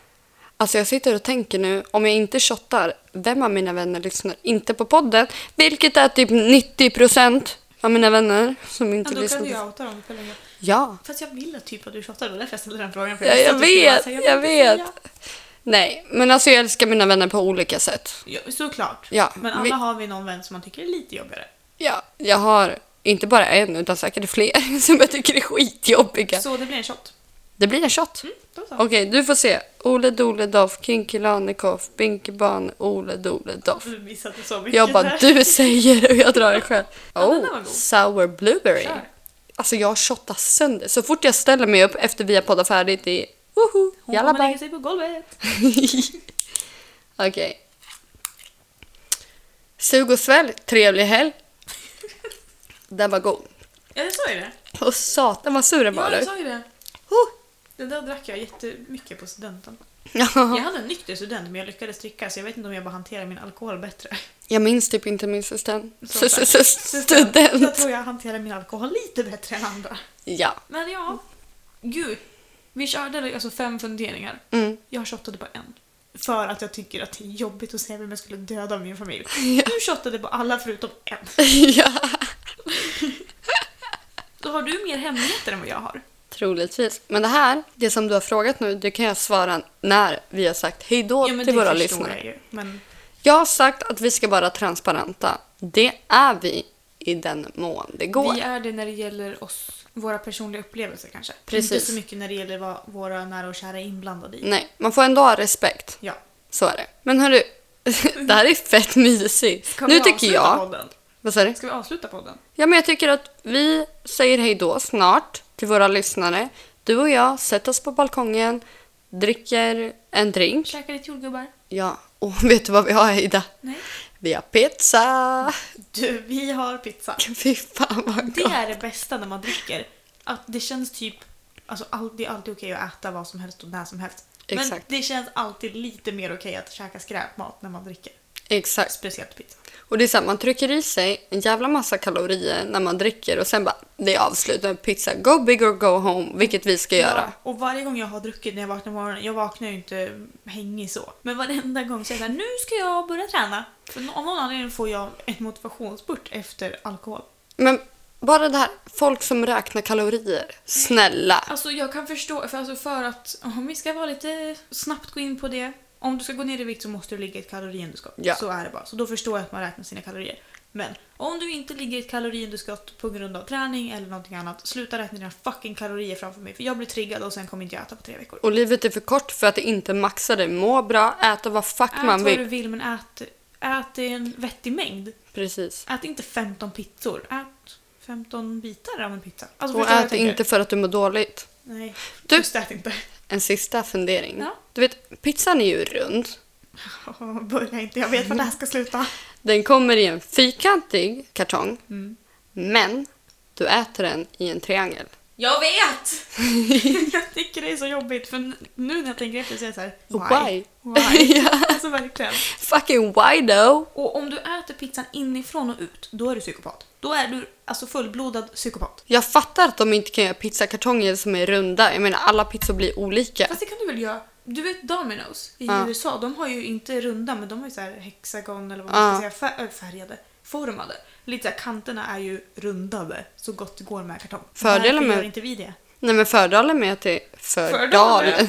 Alltså jag sitter och tänker nu, om jag inte shottar, vem av mina vänner lyssnar inte på podden? Vilket är typ 90% av mina vänner som
Ja,
inte
då
lyssnar
kan
på
du ju outa dem. för länge.
Ja,
Fast jag ville typ att du tjatade, det var därför jag ställde den frågan. För
ja
visste
jag
att du skulle
vet,
bara säga,
jag
"Men det
vet.
säger
Nej, men alltså jag älskar mina vänner på olika sätt.
jag." Ja, såklart.
Ja,
Men alla
vi-
har vi någon vän som man tycker är lite jobbigare.
Ja, jag har inte bara en utan säkert fler [laughs] som jag tycker är skitjobbiga.
Så det blir en shot.
Det blir en shot.
Mm, då så.
Okej, du får se. Ole Dole Doff, Kinky Lanekoff, Binkeban, Ole Dole Doff.
Du missade så mycket
Jag bara,
där.
du säger och jag drar det själv.
Ja, den där var
Oh,
god.
sour blueberry.
Kör.
Alltså jag shottar sönder. Så fort jag ställer mig upp efter vi har poddat färdigt i woho,
Hon
jalla
kommer lägga
bye.
sig på golvet.
[laughs] Okej. Sug och svälj, trevlig helg. Den var god.
Ja, jag sa ju det.
Och satan vad sur den var
Ja,
du.
jag sa ju det.
Oh.
Det där drack jag jättemycket på studenten.
Ja.
Jag hade en nykter student men jag lyckades dricka så jag vet inte om jag bara hanterar min
[laughs]
alkohol bättre.
[laughs] Jag minns typ inte min system.
Så
S- s- s-
Jag
[laughs] Student.
tror jag hanterar min alkohol lite bättre än andra.
Ja.
Men
Mm.
ja, gud. Vi körde alltså fem funderingar. [laughs]
Mm.
Jag shottade på en. För att jag tycker att det är jobbigt att se vem jag skulle döda av min familj.
[laughs] Ja.
Du shottade på alla förutom en.
ja.
Då har du mer hemligheter än vad jag har.
Troligtvis. Men det här, det som du har frågat nu, det kan jag svara när vi har sagt hej då
men
till våra
förstår
lyssnare.
jag ju. Men
Jag har sagt att vi ska vara transparenta. Det är vi i den mån det går.
vi är det när det gäller oss, våra personliga upplevelser kanske.
Precis. Mm.
Inte så mycket när det gäller vad våra nära och kära är inblandade i.
Nej, man får ändå ha respekt.
Ja.
Så är det. Men hörru, [laughs] det här är fett mysigt.
Ska
nu
vi
tycker
avsluta
jag...
Podden?
Vad sa du?
Ska vi avsluta podden?
Ja, men jag tycker att vi säger hej då snart till våra lyssnare. Du och jag sätter oss på balkongen, dricker en drink.
Käka lite jordgubbar?
Ja, och [laughs] vet du vad vi har Ida?
Nej.
Vi har pizza! [laughs]
Du, vi har pizza.
Fy fan vad
Det
gott!
är det bästa när man dricker. Att det känns typ... Alltså all, det är alltid okej att äta vad som helst och när som helst. Men
Exakt.
det känns alltid lite mer okej att käka skräpmat när man dricker.
Exakt.
Speciellt pizza.
Och det är så här, man trycker i sig en jävla massa kalorier när man dricker och sen bara, det är avslut med pizza. Go big or go home, vilket vi ska göra.
Ja, och varje gång jag har druckit när jag vaknar på morgonen, jag vaknar ju inte hängig så. Men varenda gång så är jag såhär, nu ska jag börja träna. För nå- av någon anledning får jag ett motivationsspurt efter alkohol.
Men bara det här, folk som räknar kalorier. Snälla!
Alltså jag kan förstå, för, alltså för att om vi ska vara lite snabbt gå in på det. Om du ska gå ner i vikt så måste du ligga i ett kaloriunderskott.
Ja.
Så är det bara. Så då förstår jag att man räknar sina kalorier. Men om du inte ligger i ett kaloriunderskott på grund av träning eller någonting annat, sluta räkna dina fucking kalorier framför mig för jag blir triggad och sen kommer inte jag äta på tre veckor.
Och livet är för kort för att det inte maxar dig. Må bra, äta vad fuck
Ät
man
vad
vill.
du vill men ät Ät i en vettig mängd.
Precis.
Ät inte 15 pizzor. Ät 15 bitar av en pizza. Alltså,
Och
förstår du vad jag
ät
tänker?
inte för att du mår dåligt.
Nej,
Du-
just ät inte. [laughs]
En sista fundering.
Ja.
Du vet, pizzan är ju rund.
Åh, Börja inte, jag vet var det här ska
Mm.
sluta.
Den kommer i en fyrkantig kartong.
Mm.
Men du äter den i en triangel.
Jag
[laughs]
vet! jag tycker det är så jobbigt för nu när jag tänker efter så är jag såhär
Why? [laughs]
Why?
Ja.
[laughs] Alltså verkligen.
Fucking why though?
Och om du äter pizzan inifrån och ut, då är du psykopat. Då är du alltså fullblodad psykopat.
Jag fattar att de inte kan göra pizzakartonger som är runda. Jag menar alla pizzor blir olika.
Fast det kan du väl göra? Du vet Domino's i
Ja.
USA, de har ju inte runda men de har ju så här hexagon eller vad
Ja.
man ska säga, fär- äh, färgade, formade. Lite så här, kanterna är ju rundade så gott det går med kartong.
Fördelen
Varför
med-
gör inte
[laughs]
vi det? [laughs]
Nej men fördelen med att det är fördalen.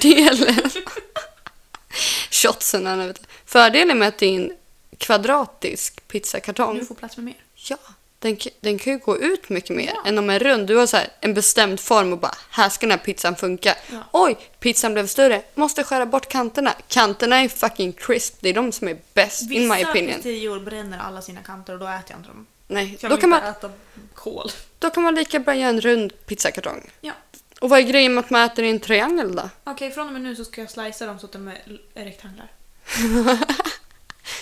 [laughs] Fördelen. [laughs] Shotsen, Anna, vet du. Fördelen med att det är en kvadratisk pizzakartong.
Du får plats med mer.
Ja, den, k- den kan ju gå ut mycket mer
Ja.
än om en rund. Du har så här en bestämd form och bara här ska den här pizzan funka.
Ja.
Oj, pizzan blev större. Måste skära bort kanterna. Kanterna är fucking crisp. Det är de som är bäst in my
Vissa
opinion.
pizzerior bränner alla sina kanter och då äter jag inte dem.
Nej,
För jag
då
vill
kan, man,
inte äta kol.
då kan man lika bra göra en rund pizzakartong.
Ja.
Och vad är grejen med att man äter i en triangel då?
Okej, från och med nu så ska jag slicea dem så att de är l- är rektanglar.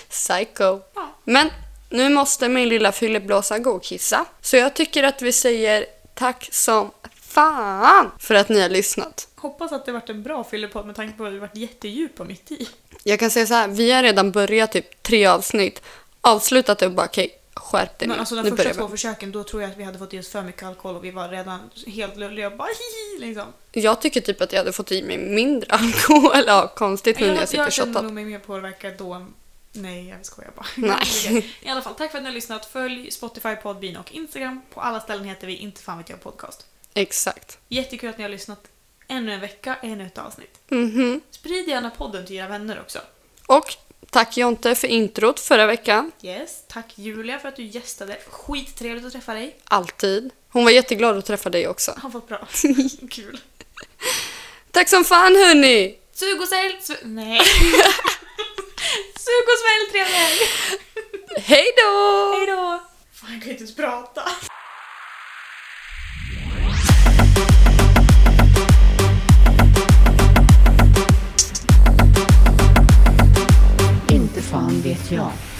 Psycho.
Ja.
Men nu måste min lilla fylleblåsa gå och kissa. Så jag tycker att vi säger tack som fan för att ni har lyssnat.
Hoppas att det varit en bra fyllepodd med tanke på att vi varit jättedjupa mitt i.
Jag kan säga så här, vi har redan börjat typ tre avsnitt, avslutat det och bara okej, skärp dig
Men
nu.
alltså de
nu
första
börjar
två försöken, då tror jag att vi hade fått i oss för mycket alkohol och vi var redan helt lulliga och bara [laughs] hihi liksom.
vi. Jag tycker typ att jag hade fått i mig mindre [laughs] alkohol. Ja, konstigt nu när jag
Jag,
sitter och
jag känner
shottat.
nog mig mer påverkad då än- Nej, jag skojar bara. [laughs]
Nej.
I alla fall, tack för att ni har lyssnat. Följ Spotify, Podbean och Instagram. På alla ställen heter vi Inte fan vet jag podcast.
Exakt.
Jättekul att ni har lyssnat ännu en vecka, ännu ett avsnitt.
Mhm.
Sprid gärna podden till era vänner också.
Och tack Jonte för introt förra veckan.
Yes, tack Julia för att du gästade. Skittrevligt att träffa dig.
Alltid. Hon var jätteglad att träffa dig också.
Han fått bra. [laughs] Kul.
Tack som fan hörni!
Sug och sälj... Su- nej. Sug och svälj trevlig helg.
Hej då!
Hej då. Fan, jag kan inte ens prata.
Inte fan vet jag.